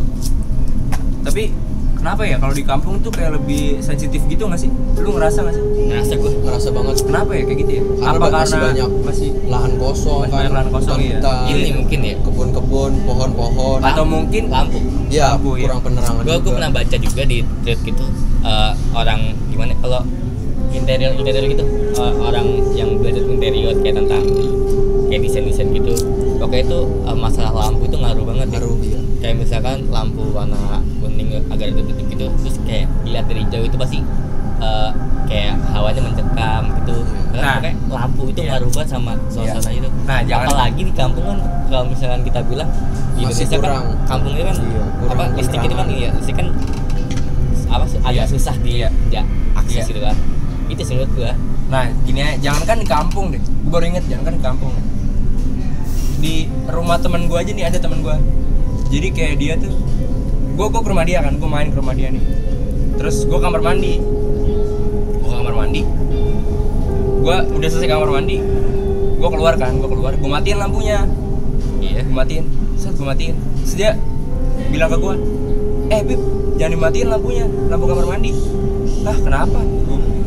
[SPEAKER 2] Tapi kenapa ya kalau di kampung tuh kayak lebih sensitif gitu nggak sih? Lu ngerasa nggak sih?
[SPEAKER 5] ngerasa gue
[SPEAKER 4] Ngerasa banget
[SPEAKER 2] Kenapa ya kayak gitu ya?
[SPEAKER 4] Karena
[SPEAKER 2] Apa
[SPEAKER 4] ba- masih
[SPEAKER 2] karena
[SPEAKER 4] banyak.
[SPEAKER 2] masih
[SPEAKER 4] lahan kosong
[SPEAKER 2] Banyak
[SPEAKER 4] kan
[SPEAKER 2] lahan kosong, iya.
[SPEAKER 4] hutan-hutan,
[SPEAKER 5] ini mungkin ya
[SPEAKER 4] kebun-kebun pohon-pohon
[SPEAKER 2] atau mungkin
[SPEAKER 5] lampu
[SPEAKER 4] ya
[SPEAKER 2] lampu, iya.
[SPEAKER 4] kurang penerangan
[SPEAKER 5] gue gue
[SPEAKER 4] juga.
[SPEAKER 5] pernah baca juga di thread gitu eh, orang gimana kalau interior interior gitu eh, orang yang belajar interior kayak tentang kayak desain desain gitu pokoknya itu eh, masalah lampu itu ngaruh banget ya.
[SPEAKER 4] ngaruh ya
[SPEAKER 5] kayak misalkan lampu warna kuning agak redup-redup gitu terus kayak dilihat dari jauh itu pasti eh, kayak hawanya mencekam gitu
[SPEAKER 3] Nah.
[SPEAKER 5] nah, kayak lampu itu
[SPEAKER 3] Iya.
[SPEAKER 5] ngaruh banget sama suasana itu
[SPEAKER 3] Nah, jangan-
[SPEAKER 5] apalagi di kampung kan kalau misalkan kita bilang di
[SPEAKER 4] Masih
[SPEAKER 5] Indonesia
[SPEAKER 4] kurang.
[SPEAKER 5] kan kampungnya kan
[SPEAKER 4] Iya, kurang
[SPEAKER 5] apa listrik itu kan
[SPEAKER 4] penerangan.
[SPEAKER 5] iya listrik kan apa sih, agak susah dia ya, akses
[SPEAKER 3] Iya.
[SPEAKER 5] gitu kan itu sih menurut gua
[SPEAKER 2] Nah, gini aja, jangan kan di kampung deh. Gue baru inget, jangan kan di kampung. Di rumah temen gue aja nih ada temen gue. Jadi kayak dia tuh, gue gue ke rumah dia kan, gue main ke rumah dia nih. Terus gue kamar mandi, gue kamar mandi. Gue udah selesai kamar mandi, gue keluar kan, gue keluar, gue matiin lampunya.
[SPEAKER 5] iya
[SPEAKER 2] Gue Eh, matiin, set gue matiin. Terus dia bilang ke gue, eh Bib, jangan dimatiin lampunya, lampu kamar mandi. Lah kenapa?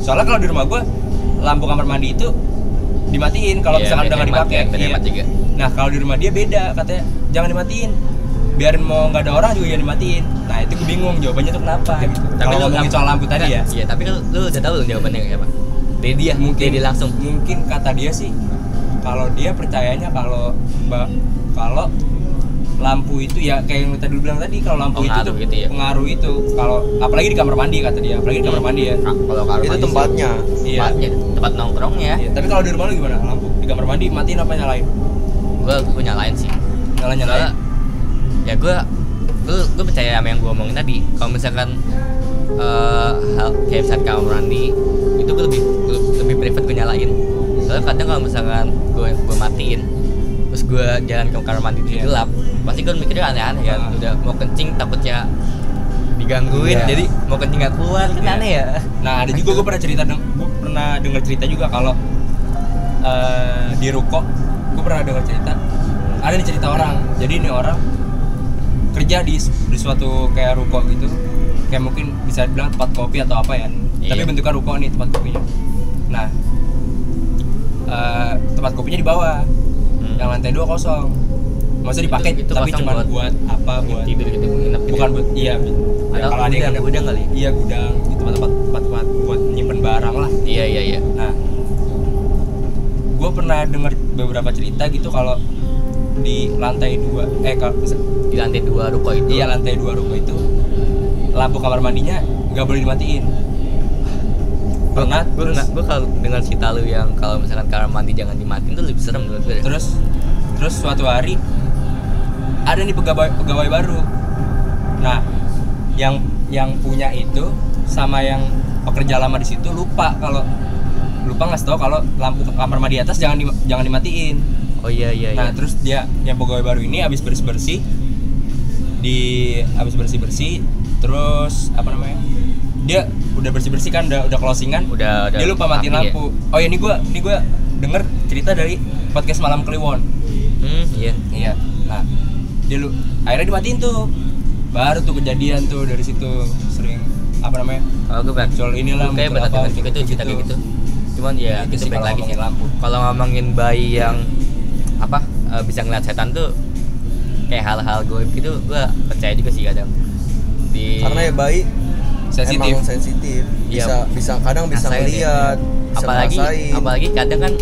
[SPEAKER 2] Soalnya kalau di rumah gue, lampu kamar mandi itu dimatiin kalau
[SPEAKER 3] Iya,
[SPEAKER 2] misalkan udah nggak
[SPEAKER 3] berhemat
[SPEAKER 2] dipakai.
[SPEAKER 3] kan,
[SPEAKER 2] Iya.
[SPEAKER 3] berhemat juga.
[SPEAKER 2] Nah kalau di rumah dia beda, katanya jangan dimatiin. Biarin mau nggak ada orang juga jangan dimatiin. Nah itu gue bingung jawabannya tuh kenapa. Gitu. Tapi
[SPEAKER 5] lu
[SPEAKER 2] kalau ngomongin
[SPEAKER 5] lampu-
[SPEAKER 2] soal lampu tadi ya,
[SPEAKER 5] iya tapi lu, lu udah tahu belum jawabannya kayak apa dari dia
[SPEAKER 2] Mungkin.
[SPEAKER 5] dari dia langsung
[SPEAKER 2] mungkin kata dia sih kalau dia percayanya kalau ba- kalau lampu itu ya kayak yang tadi lu bilang tadi kalau lampu itu
[SPEAKER 3] Pengaruh
[SPEAKER 2] tuh
[SPEAKER 3] gitu ya.
[SPEAKER 2] pengaruh itu kalau apalagi di kamar mandi kata dia apalagi di kamar mandi ya
[SPEAKER 3] Nah, kalau kamar
[SPEAKER 4] itu
[SPEAKER 3] mandi
[SPEAKER 4] tempatnya
[SPEAKER 3] sih,
[SPEAKER 2] iya
[SPEAKER 3] tempatnya, tempat nongkrongnya.
[SPEAKER 5] ya.
[SPEAKER 2] Iya, tapi kalau di rumah lu gimana lampu di kamar mandi matiin apa nyalain
[SPEAKER 3] Gua gua nyalain sih.
[SPEAKER 2] nyala
[SPEAKER 3] Soalnya,
[SPEAKER 2] nyalain
[SPEAKER 3] ya gua gua gua percaya sama yang gua omongin tadi. Kalau misalkan eh hal kayak misalkan kamar mandi itu gua lebih lebih- lebih prefer gua nyalain. Soalnya kadang kalau misalkan gua gua matiin terus gua jalan ke kamar mandi di
[SPEAKER 2] Iya.
[SPEAKER 3] gelap, pasti gua mikirnya aneh-aneh ya.
[SPEAKER 2] Ah.
[SPEAKER 3] Udah mau kencing takutnya digangguin,
[SPEAKER 2] Iya.
[SPEAKER 3] jadi mau kencing nggak keluar kan
[SPEAKER 2] Iya.
[SPEAKER 3] aneh ya.
[SPEAKER 2] nah ada juga gue pernah cerita deng- gua pernah dengar cerita juga kalau eh, di ruko gue pernah dengar cerita ada nih cerita orang jadi ini orang kerja di di suatu kayak ruko gitu kayak mungkin bisa dibilang tempat kopi atau apa ya
[SPEAKER 3] Iya.
[SPEAKER 2] tapi bentuknya ruko nih tempat kopinya nah eh, tempat kopinya di bawah
[SPEAKER 3] Hmm.
[SPEAKER 2] yang lantai dua kosong maksudnya
[SPEAKER 3] Itu-
[SPEAKER 2] dipakai
[SPEAKER 3] itu
[SPEAKER 2] tapi
[SPEAKER 3] kosong
[SPEAKER 2] cuma buat,
[SPEAKER 3] buat-
[SPEAKER 2] apa buat
[SPEAKER 3] tidur gitu nginep gitu.
[SPEAKER 2] bukan buat iya ya,
[SPEAKER 3] Atau
[SPEAKER 2] kalau ada yang
[SPEAKER 3] gudang, gudang kali? ya?
[SPEAKER 2] iya gudang di tempat-tempat tempat-tempat buat nyimpen barang lah
[SPEAKER 3] Iya iya iya.
[SPEAKER 2] nah gue pernah dengar beberapa cerita gitu kalau di lantai dua eh kalau
[SPEAKER 3] Di lantai dua ruko itu.
[SPEAKER 2] iya lantai dua rumah itu lampu kamar mandinya nggak boleh dimatiin pernah
[SPEAKER 3] gue
[SPEAKER 2] terus
[SPEAKER 3] nggak gue kalau dengar cerita lu yang kalau misalkan kamar mandi jangan dimatiin tuh lebih serem menurut gue deh.
[SPEAKER 2] terus terus suatu hari ada nih pegawai pegawai baru nah yang yang punya itu sama yang pekerja lama di situ lupa kalau lupa nggak tahu kalau lampu kamar mandi atas jangan di- jangan dimatiin
[SPEAKER 3] oh iya iya iya
[SPEAKER 2] nah terus dia yang pegawai baru ini habis bersih bersih di habis bersih bersih terus apa namanya dia udah bersih bersih kan udah udah closingan
[SPEAKER 3] udah udah
[SPEAKER 2] dia lupa matiin
[SPEAKER 3] rapi ya.
[SPEAKER 2] lampu oh ya ini gue ini gue denger cerita dari podcast malam Kliwon
[SPEAKER 3] hmm iya
[SPEAKER 2] Iya. Nah, dia lu akhirnya dimatiin tuh. Baru tuh kejadian tuh dari situ sering apa namanya?
[SPEAKER 3] kalau gue bang
[SPEAKER 2] Soal inilah
[SPEAKER 3] kayak
[SPEAKER 2] mungkin
[SPEAKER 3] berat
[SPEAKER 2] apa,
[SPEAKER 3] dengan juga tuh cerita kayak
[SPEAKER 2] gitu.
[SPEAKER 3] gitu cuman ya
[SPEAKER 2] Itu
[SPEAKER 3] itu
[SPEAKER 2] sih
[SPEAKER 3] baik
[SPEAKER 2] kalau
[SPEAKER 3] lagi sih
[SPEAKER 2] ngomongin lampu.
[SPEAKER 3] kalau ngomongin bayi yang apa eh, bisa ngeliat setan tuh kayak hal-hal gue gitu gue percaya juga sih kadang di
[SPEAKER 4] karena ya bayi
[SPEAKER 2] Iya. Sensitif. iya.
[SPEAKER 4] emang sensitif
[SPEAKER 3] Iya.
[SPEAKER 4] bisa bisa kadang bisa
[SPEAKER 3] Ngerasain ya.
[SPEAKER 4] ngeliat bisa
[SPEAKER 3] apalagi
[SPEAKER 4] ngerasain.
[SPEAKER 3] apalagi kadang kan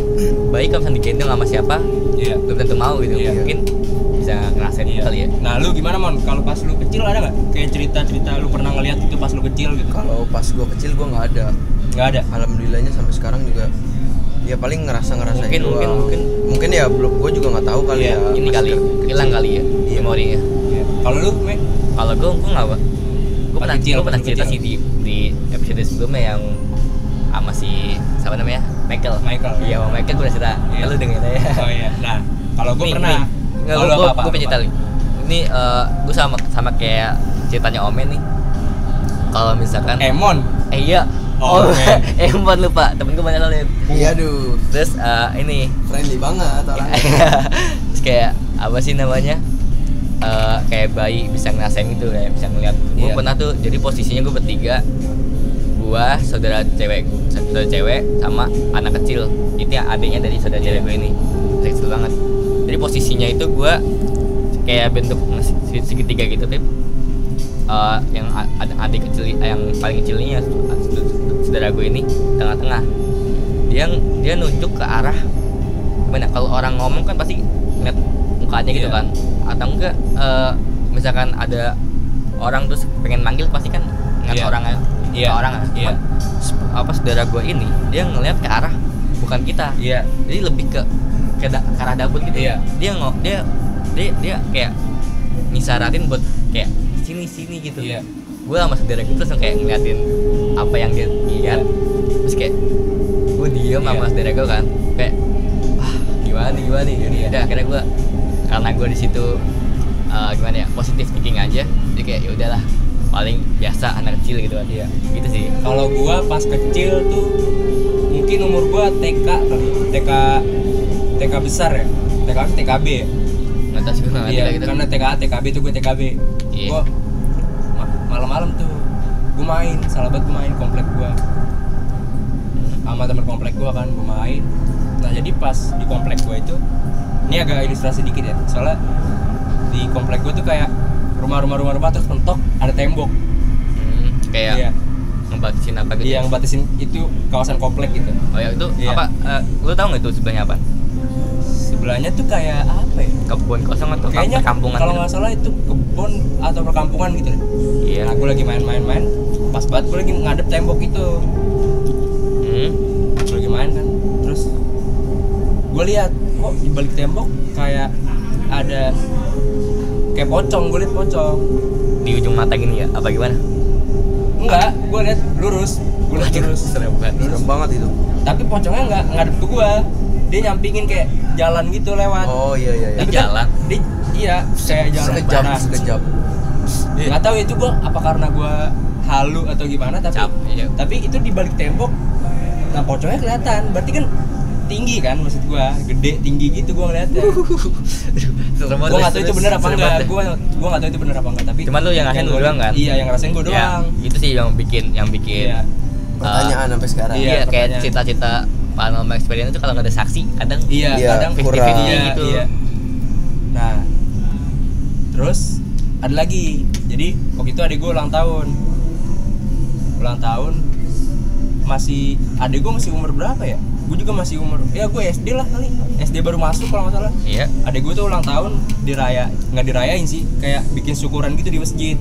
[SPEAKER 3] bayi kalau misalnya digendong sama siapa
[SPEAKER 2] Iya.
[SPEAKER 3] belum tentu mau gitu
[SPEAKER 2] Iya.
[SPEAKER 3] mungkin bisa ngerasain
[SPEAKER 2] Iya.
[SPEAKER 3] kali ya
[SPEAKER 2] Nah, lu gimana Mon? Kalau pas lu kecil ada nggak kayak cerita-cerita lu pernah ngeliat itu pas lu kecil gitu?
[SPEAKER 4] kalau pas gua kecil gua nggak ada
[SPEAKER 2] Nggak ada.
[SPEAKER 4] alhamdulillahnya sampai sekarang juga ya paling ngerasa ngerasain
[SPEAKER 3] Mungkin- mungkin- mungkin.
[SPEAKER 4] mungkin ya belum gue juga nggak tahu kali
[SPEAKER 2] Iya,
[SPEAKER 4] ya
[SPEAKER 3] ini
[SPEAKER 4] masih
[SPEAKER 3] kali
[SPEAKER 4] ke-
[SPEAKER 3] hilang kali ya
[SPEAKER 4] Iya.
[SPEAKER 3] memorinya
[SPEAKER 2] Iya. Kalau lu, Me?
[SPEAKER 3] kalau gue gue nggak gue
[SPEAKER 2] Pas
[SPEAKER 3] pernah
[SPEAKER 2] kecil,
[SPEAKER 3] gue pernah
[SPEAKER 2] pas
[SPEAKER 3] cerita
[SPEAKER 2] kecil.
[SPEAKER 3] sih di di episode sebelumnya yang sama si siapa namanya Michael
[SPEAKER 2] Michael.
[SPEAKER 3] iya sama Michael gue udah cerita
[SPEAKER 2] Iya.
[SPEAKER 3] lu dengerin aja
[SPEAKER 2] Oh iya. Nah, kalau gue
[SPEAKER 3] Nih,
[SPEAKER 2] pernah.
[SPEAKER 3] nih. Nggak,
[SPEAKER 2] Kalau lu
[SPEAKER 3] gue gue
[SPEAKER 2] apa-apa,
[SPEAKER 3] gue pengen cerita
[SPEAKER 2] apa-apa.
[SPEAKER 3] nih. Ini eh, gue sama sama kayak ceritanya Omen nih. Kalau misalkan eh,
[SPEAKER 2] Emon.
[SPEAKER 3] iya.
[SPEAKER 2] Omen.
[SPEAKER 3] eh buat lupa temen gue banyak kali.
[SPEAKER 4] iya duh
[SPEAKER 3] Terus eh, ini
[SPEAKER 4] friendly banget orangnya
[SPEAKER 3] terus kayak apa sih namanya? Eh, kayak bayi bisa ngerasain gitu kayak bisa ngeliat. Gue
[SPEAKER 2] Iya.
[SPEAKER 3] pernah tuh jadi posisinya gue bertiga gua saudara cewek gua- saudara cewek sama anak kecil itu yang adiknya dari saudara cewek gue ini Anak kecil banget jadi posisinya itu gua kayak bentuk se- segitiga gitu tip Eh, yang a- ad- adik kecil eh, yang paling kecilnya saud- saudara gue ini tengah-tengah dia dia nunjuk ke arah mana kalau orang ngomong kan pasti ngeliat mukanya gitu
[SPEAKER 2] Iya.
[SPEAKER 3] kan atau enggak eh, misalkan ada orang terus pengen manggil pasti kan ngeliat
[SPEAKER 2] Iya.
[SPEAKER 3] orangnya
[SPEAKER 2] Iya.
[SPEAKER 3] ke orang kan.
[SPEAKER 2] Iya.
[SPEAKER 3] Cuman, sep- apa saudara gue ini dia ngelihat ke arah bukan kita
[SPEAKER 2] Iya.
[SPEAKER 3] jadi lebih ke ke, da- ke arah dapur gitu
[SPEAKER 2] Iya.
[SPEAKER 3] dia ngo dia dia dia kayak nyisaratin buat kayak sini sini gitu
[SPEAKER 2] Iya.
[SPEAKER 3] gue sama saudara gue terus kayak ngeliatin apa yang dia lihat terus kayak gue diem sama
[SPEAKER 2] Iya.
[SPEAKER 3] saudara gue kan kayak wah gimana nih gimana nih
[SPEAKER 2] Iya.
[SPEAKER 3] Ya udah akhirnya gue karena gue di situ eh, gimana ya positif thinking aja jadi kayak ya udahlah paling biasa anak kecil gitu kan
[SPEAKER 2] Iya.
[SPEAKER 3] gitu sih
[SPEAKER 2] Kalau gua pas kecil tuh mungkin umur gua TK kali, TK TK besar ya. TK TKB ya.
[SPEAKER 3] nggak tahu sih gue nggak ngerti
[SPEAKER 2] Iya,
[SPEAKER 3] lah gitu
[SPEAKER 2] karena TKA, TKB itu gue TKB.
[SPEAKER 3] Iya.
[SPEAKER 2] Gua ma- malam-malam tuh gue main, salah banget gue main komplek gua. Sama temen komplek gua kan gue main. Nah, jadi pas di komplek gua itu ini agak ilustrasi dikit ya. Soalnya di komplek gua tuh kayak rumah-rumah rumah-rumah terus mentok ada tembok.
[SPEAKER 3] Hmm, kayak
[SPEAKER 2] Iya.
[SPEAKER 3] ngebatasin apa gitu
[SPEAKER 2] Iya, yang batasin itu kawasan komplek gitu.
[SPEAKER 3] oh ya itu
[SPEAKER 2] Iya.
[SPEAKER 3] apa eh, lu tahu nggak itu sebelahnya apa
[SPEAKER 2] Sebelahnya tuh kayak apa ya?
[SPEAKER 3] kebun kosong atau kamp-
[SPEAKER 2] Kayaknya
[SPEAKER 3] perkampungan
[SPEAKER 2] kalau
[SPEAKER 3] gitu?
[SPEAKER 2] nggak salah itu kebun atau perkampungan gitu deh.
[SPEAKER 3] iya
[SPEAKER 2] Nah, gue lagi main-main-main, pas banget gue lagi ngadep tembok itu.
[SPEAKER 3] Hmm,
[SPEAKER 2] Gue lagi main kan, terus gue lihat kok di balik tembok kayak ada kayak pocong, gue liat pocong.
[SPEAKER 3] di ujung mata gini ya apa gimana
[SPEAKER 2] Enggak, gue liat lurus, gue liat lurus.
[SPEAKER 4] serem banget itu
[SPEAKER 2] Tapi pocongnya nggak ngadep ke gue, dia nyampingin kayak jalan gitu lewat.
[SPEAKER 4] oh iya iya iya
[SPEAKER 2] Tapi kan
[SPEAKER 3] jalan.
[SPEAKER 2] Dia, iya, kayak jalan.
[SPEAKER 4] sekejap
[SPEAKER 2] Nah,
[SPEAKER 4] sekejap
[SPEAKER 3] Iya.
[SPEAKER 2] nggak tahu itu gua apa karena gua halu atau gimana tapi
[SPEAKER 3] Cap, iya.
[SPEAKER 2] tapi itu di balik tembok nah pocongnya kelihatan berarti kan tinggi kan maksud gua gede tinggi gitu gua ngeliatnya
[SPEAKER 3] serem
[SPEAKER 2] gua nggak tahu itu bener apa enggak ya. gua gua nggak tahu itu bener apa enggak tapi
[SPEAKER 3] Cuman lu yang ngerasain
[SPEAKER 2] gua
[SPEAKER 3] lu doang kan?
[SPEAKER 2] iya yang ngerasain gua doang
[SPEAKER 3] itu sih yang bikin yang bikin
[SPEAKER 2] iya
[SPEAKER 4] pertanyaan sampai sekarang
[SPEAKER 2] Iya,
[SPEAKER 3] iya,
[SPEAKER 2] pertanyaan.
[SPEAKER 3] kayak cita-cita paranormal experience itu kalau nggak ada saksi kadang
[SPEAKER 2] iya
[SPEAKER 4] Iya,
[SPEAKER 2] kadang
[SPEAKER 4] kurang.
[SPEAKER 2] iya,
[SPEAKER 3] Iya, gitu.
[SPEAKER 2] iya. nah terus ada lagi jadi waktu itu adik gua ulang tahun ulang tahun masih adik gua masih umur berapa ya gue juga masih umur ya gue SD lah kali SD baru masuk kalau nggak salah
[SPEAKER 3] iya
[SPEAKER 2] adik gue tuh ulang tahun diraya nggak dirayain sih kayak bikin syukuran gitu di masjid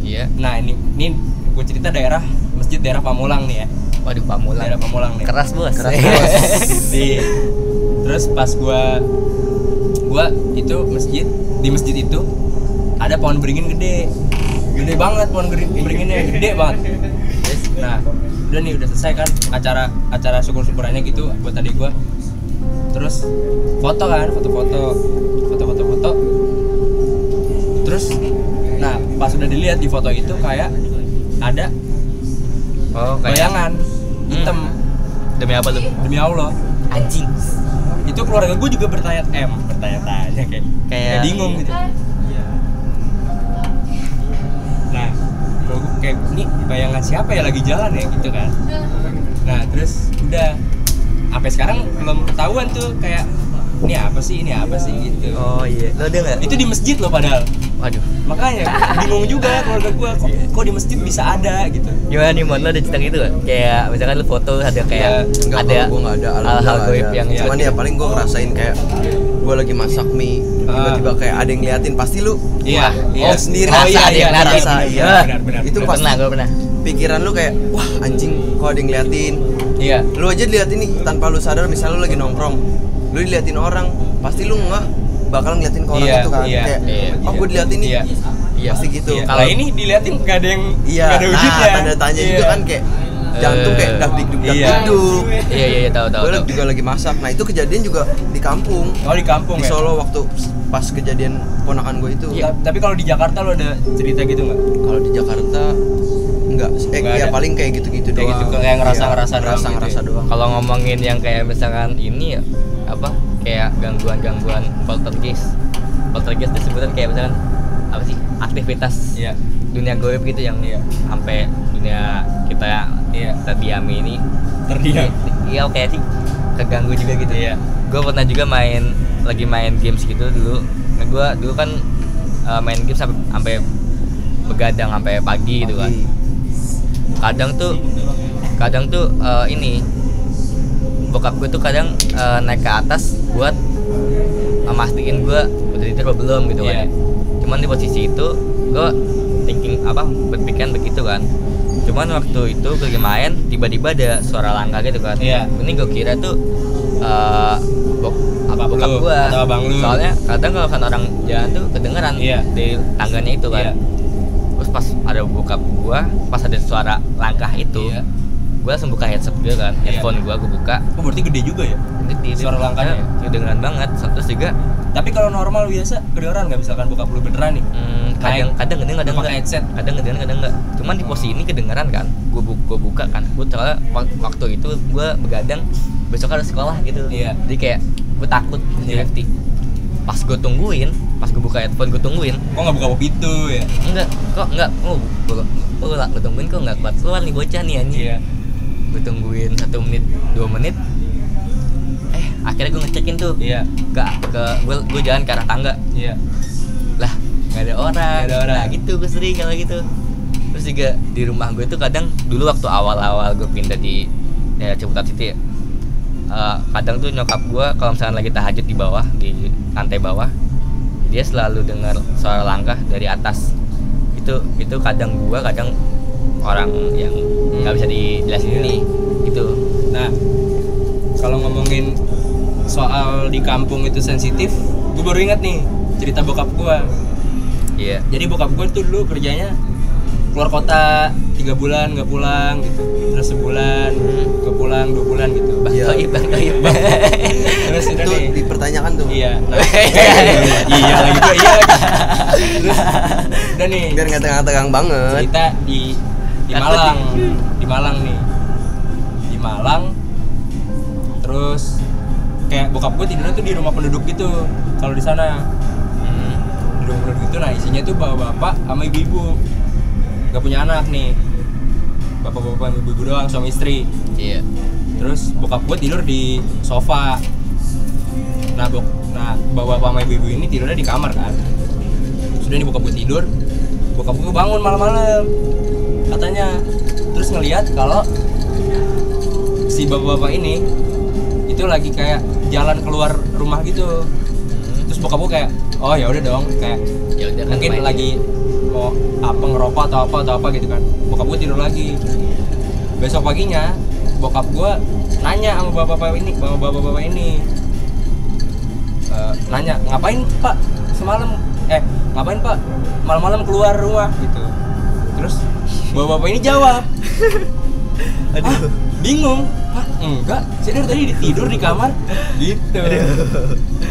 [SPEAKER 3] iya
[SPEAKER 2] nah ini ini gue cerita daerah masjid daerah Pamulang nih ya
[SPEAKER 3] waduh pamulang
[SPEAKER 2] daerah Pamulang nih
[SPEAKER 3] keras bos
[SPEAKER 4] Iya. Keras, bos.
[SPEAKER 2] di terus pas gua gua itu masjid di masjid itu ada pohon beringin gede gede banget pohon beri- beringinnya gede banget Terus, nah udah nih udah selesai kan acara acara syukur syukurannya gitu buat tadi gua terus foto kan foto-foto foto-foto foto terus nah pas udah dilihat di foto itu kayak ada
[SPEAKER 3] oh kayak
[SPEAKER 2] bayangan hitam
[SPEAKER 3] demi apa lu
[SPEAKER 2] demi Allah
[SPEAKER 3] anjing
[SPEAKER 2] itu keluarga gue juga bertanya em bertanya-tanya kayak kayak,
[SPEAKER 3] Kayak-
[SPEAKER 2] bingung gitu nah kalau gue kayak ini bayangan siapa ya lagi jalan ya gitu kan nah terus udah sampai sekarang belum ketahuan tuh kayak ini apa sih ini apa sih gitu
[SPEAKER 3] oh iya lo udah nggak
[SPEAKER 2] itu di masjid loh padahal
[SPEAKER 3] waduh
[SPEAKER 2] makanya bingung juga keluarga gue kok, kok di masjid bisa ada gitu
[SPEAKER 3] gimana nih mon lo ada cerita gitu gak? kayak misalkan lu foto ada kayak
[SPEAKER 4] Enggak,
[SPEAKER 3] ada
[SPEAKER 4] gue Iya. nggak ada
[SPEAKER 3] hal-hal
[SPEAKER 4] alhamdulillah
[SPEAKER 3] goib
[SPEAKER 4] ada.
[SPEAKER 3] yang iya.
[SPEAKER 4] cuman ya paling gue ngerasain kayak gue lagi masak mie tiba-tiba kayak ada yang ngeliatin pasti lu
[SPEAKER 2] iya
[SPEAKER 4] iya.
[SPEAKER 2] oh
[SPEAKER 4] sendiri
[SPEAKER 2] oh,
[SPEAKER 4] rasa
[SPEAKER 2] iya,
[SPEAKER 4] ada
[SPEAKER 2] iya,
[SPEAKER 4] yang
[SPEAKER 2] iya,
[SPEAKER 4] rasa,
[SPEAKER 2] benar,
[SPEAKER 4] iya.
[SPEAKER 2] benar benar
[SPEAKER 4] Itu
[SPEAKER 3] itu
[SPEAKER 4] pasti-
[SPEAKER 3] pernah gue pernah
[SPEAKER 4] pikiran lu kayak wah anjing kok ada yang ngeliatin
[SPEAKER 2] Iya.
[SPEAKER 4] lu aja lihat ini tanpa lu sadar misalnya lu lagi nongkrong lu diliatin orang pasti lu nggak bakal ngeliatin ke orang
[SPEAKER 2] Iya,
[SPEAKER 4] itu kan
[SPEAKER 2] iya,
[SPEAKER 4] kayak
[SPEAKER 3] iya,
[SPEAKER 4] oh
[SPEAKER 2] iya.
[SPEAKER 4] gue diliatin nih
[SPEAKER 2] Iya.
[SPEAKER 4] iya pasti gitu
[SPEAKER 2] Iya.
[SPEAKER 4] kalau
[SPEAKER 2] Kalau ini diliatin nggak ada yang
[SPEAKER 4] iya
[SPEAKER 2] nggak ada
[SPEAKER 4] nah
[SPEAKER 2] wujudnya.
[SPEAKER 4] tanda tanya juga
[SPEAKER 2] Iya.
[SPEAKER 4] kan kayak jantung kayak
[SPEAKER 3] Eh,
[SPEAKER 4] dak dik duk dak
[SPEAKER 2] iya.
[SPEAKER 4] dik duk
[SPEAKER 3] iya iya iya tahu tahu
[SPEAKER 4] gue
[SPEAKER 3] tahu.
[SPEAKER 4] juga lagi masak nah itu kejadian juga di kampung
[SPEAKER 2] Kalau di kampung
[SPEAKER 4] di
[SPEAKER 2] ya. Iya.
[SPEAKER 4] Solo waktu pas kejadian ponakan gue itu
[SPEAKER 2] Ta- Tapi kalau di Jakarta lo ada cerita gitu nggak?
[SPEAKER 4] kalau di Jakarta enggak eh
[SPEAKER 2] Nggak
[SPEAKER 4] ya
[SPEAKER 2] ada.
[SPEAKER 4] paling kayak gitu-gitu
[SPEAKER 2] Kayak
[SPEAKER 4] doang Iya,
[SPEAKER 2] gitu, kayak ngerasa-ngerasa
[SPEAKER 4] ngerasa
[SPEAKER 2] doang gitu
[SPEAKER 4] ngerasa
[SPEAKER 2] ya.
[SPEAKER 4] doang
[SPEAKER 3] kalau ngomongin yang kayak misalkan ini ya, apa kayak gangguan-gangguan poltergeist poltergeist itu sebutan kayak misalkan apa sih aktivitas
[SPEAKER 2] Iya.
[SPEAKER 3] dunia goib gitu yang
[SPEAKER 2] Iya.
[SPEAKER 3] sampai dunia kita
[SPEAKER 2] Iya.
[SPEAKER 3] terdiami ini
[SPEAKER 2] Terdiam.
[SPEAKER 3] iya oke sih keganggu juga gitu
[SPEAKER 2] Iya.
[SPEAKER 3] gue pernah juga main lagi main games gitu dulu nah, gue dulu kan eh, main games sampai sampai begadang sampai pagi gitu kan kadang tuh kadang tuh eh, ini bokap gue tuh kadang eh, naik ke atas buat memastikan gue udah tidur apa belum gitu
[SPEAKER 2] Iya.
[SPEAKER 3] kan cuman di posisi itu gue thinking apa berpikiran begitu kan cuman waktu itu gue lagi main tiba-tiba ada suara langkah gitu kan
[SPEAKER 2] Iya.
[SPEAKER 3] ini gue kira tuh eh bok apa
[SPEAKER 2] Bokap
[SPEAKER 3] bokap
[SPEAKER 2] lu
[SPEAKER 3] gue
[SPEAKER 2] atau abang lu.
[SPEAKER 3] soalnya kadang kalau kan orang jalan tuh kedengeran
[SPEAKER 2] Iya.
[SPEAKER 3] dari tangganya itu kan
[SPEAKER 2] Iya.
[SPEAKER 3] terus pas ada bokap gue pas ada suara langkah itu
[SPEAKER 2] Iya.
[SPEAKER 3] gue langsung buka headset gue kan
[SPEAKER 2] Iya.
[SPEAKER 3] headphone gue gue buka
[SPEAKER 2] Oh berarti gede juga ya?
[SPEAKER 3] Gede,
[SPEAKER 2] Suara langkahnya ya?
[SPEAKER 3] kedengeran Iya, banget terus juga
[SPEAKER 2] Tapi kalau normal biasa gede orang nggak misalkan buka puluh beneran nih.
[SPEAKER 3] hmm, kadang
[SPEAKER 2] Naik.
[SPEAKER 3] kadang kedengeran
[SPEAKER 2] Pakai
[SPEAKER 3] kadang enggak
[SPEAKER 2] headset.
[SPEAKER 3] kadang kedengeran kadang enggak cuman di posisi ini kedengeran kan gue bu gua buka kan gue soalnya wak- waktu itu gue begadang besok harus sekolah gitu
[SPEAKER 2] Iya.
[SPEAKER 3] jadi kayak gue takut
[SPEAKER 2] Iya.
[SPEAKER 3] jadi FT. pas gue tungguin pas gue buka headphone gue tungguin
[SPEAKER 2] Kok nggak buka pintu ya?
[SPEAKER 3] enggak kok enggak oh gue gue tungguin kok enggak kuat keluar nih bocah nih anjing
[SPEAKER 2] Iya.
[SPEAKER 3] gue tungguin satu menit dua menit eh akhirnya gue ngecekin tuh
[SPEAKER 2] Iya.
[SPEAKER 3] ke ke gue gue jalan ke arah tangga
[SPEAKER 2] Iya.
[SPEAKER 3] lah nggak ada orang
[SPEAKER 2] Nggak ada orang.
[SPEAKER 3] Nah, gitu gue sering kalau gitu terus juga di rumah gue tuh kadang dulu waktu awal-awal gue pindah di daerah Ciputat City ya eh, kadang tuh nyokap gue kalau misalnya lagi tahajud di bawah di lantai bawah dia selalu dengar suara langkah dari atas itu itu kadang gue kadang orang yang nggak bisa dijelasin
[SPEAKER 2] Iya.
[SPEAKER 3] ini gitu
[SPEAKER 2] Nah, kalau ngomongin soal di kampung itu sensitif, gue baru ingat nih cerita bokap gue.
[SPEAKER 3] Iya.
[SPEAKER 2] Jadi bokap gue tuh dulu kerjanya keluar kota tiga bulan nggak pulang gitu, terus sebulan nggak pulang dua bulan gitu.
[SPEAKER 3] Bang
[SPEAKER 4] Iya.
[SPEAKER 3] Toib, Bang Toib.
[SPEAKER 2] Terus udah
[SPEAKER 4] itu
[SPEAKER 2] nih,
[SPEAKER 4] dipertanyakan tuh
[SPEAKER 2] iya, nah, iya lagi gua, iya lagi. Terus udah nih
[SPEAKER 4] biar nggak tegang-tegang banget
[SPEAKER 2] cerita di di
[SPEAKER 3] Atau
[SPEAKER 2] Malang
[SPEAKER 3] di- Hmm.
[SPEAKER 2] di Malang nih di Malang terus kayak bokap gue tidurnya tuh di rumah penduduk gitu kalau di sana
[SPEAKER 3] Hmm.
[SPEAKER 2] di rumah penduduk itu nah isinya tuh bapak-bapak sama ibu-ibu nggak punya anak nih bapak-bapak sama ibu-ibu doang suami istri
[SPEAKER 3] Iya.
[SPEAKER 2] terus bokap gue tidur di sofa nah bok nah bawa bapak sama ibu-ibu ini tidurnya di kamar kan sudah nih bokap gue tidur bokap gue bangun malam-malam katanya terus ngelihat kalau si bapak-bapak ini itu lagi kayak jalan keluar rumah gitu terus bokap gue kayak oh ya udah dong kayak
[SPEAKER 3] Ya udah kan
[SPEAKER 2] mungkin
[SPEAKER 3] main.
[SPEAKER 2] lagi mau apa ngerokok atau apa atau apa gitu kan bokap gue tidur lagi besok paginya bokap gue nanya sama bapak bapak ini sama bapak bapak ini Eh, nanya ngapain pak semalam eh ngapain pak malam-malam keluar rumah gitu terus bapak bapak ini jawab aduh bingung Hah, enggak saya dari tadi tidur di kamar gitu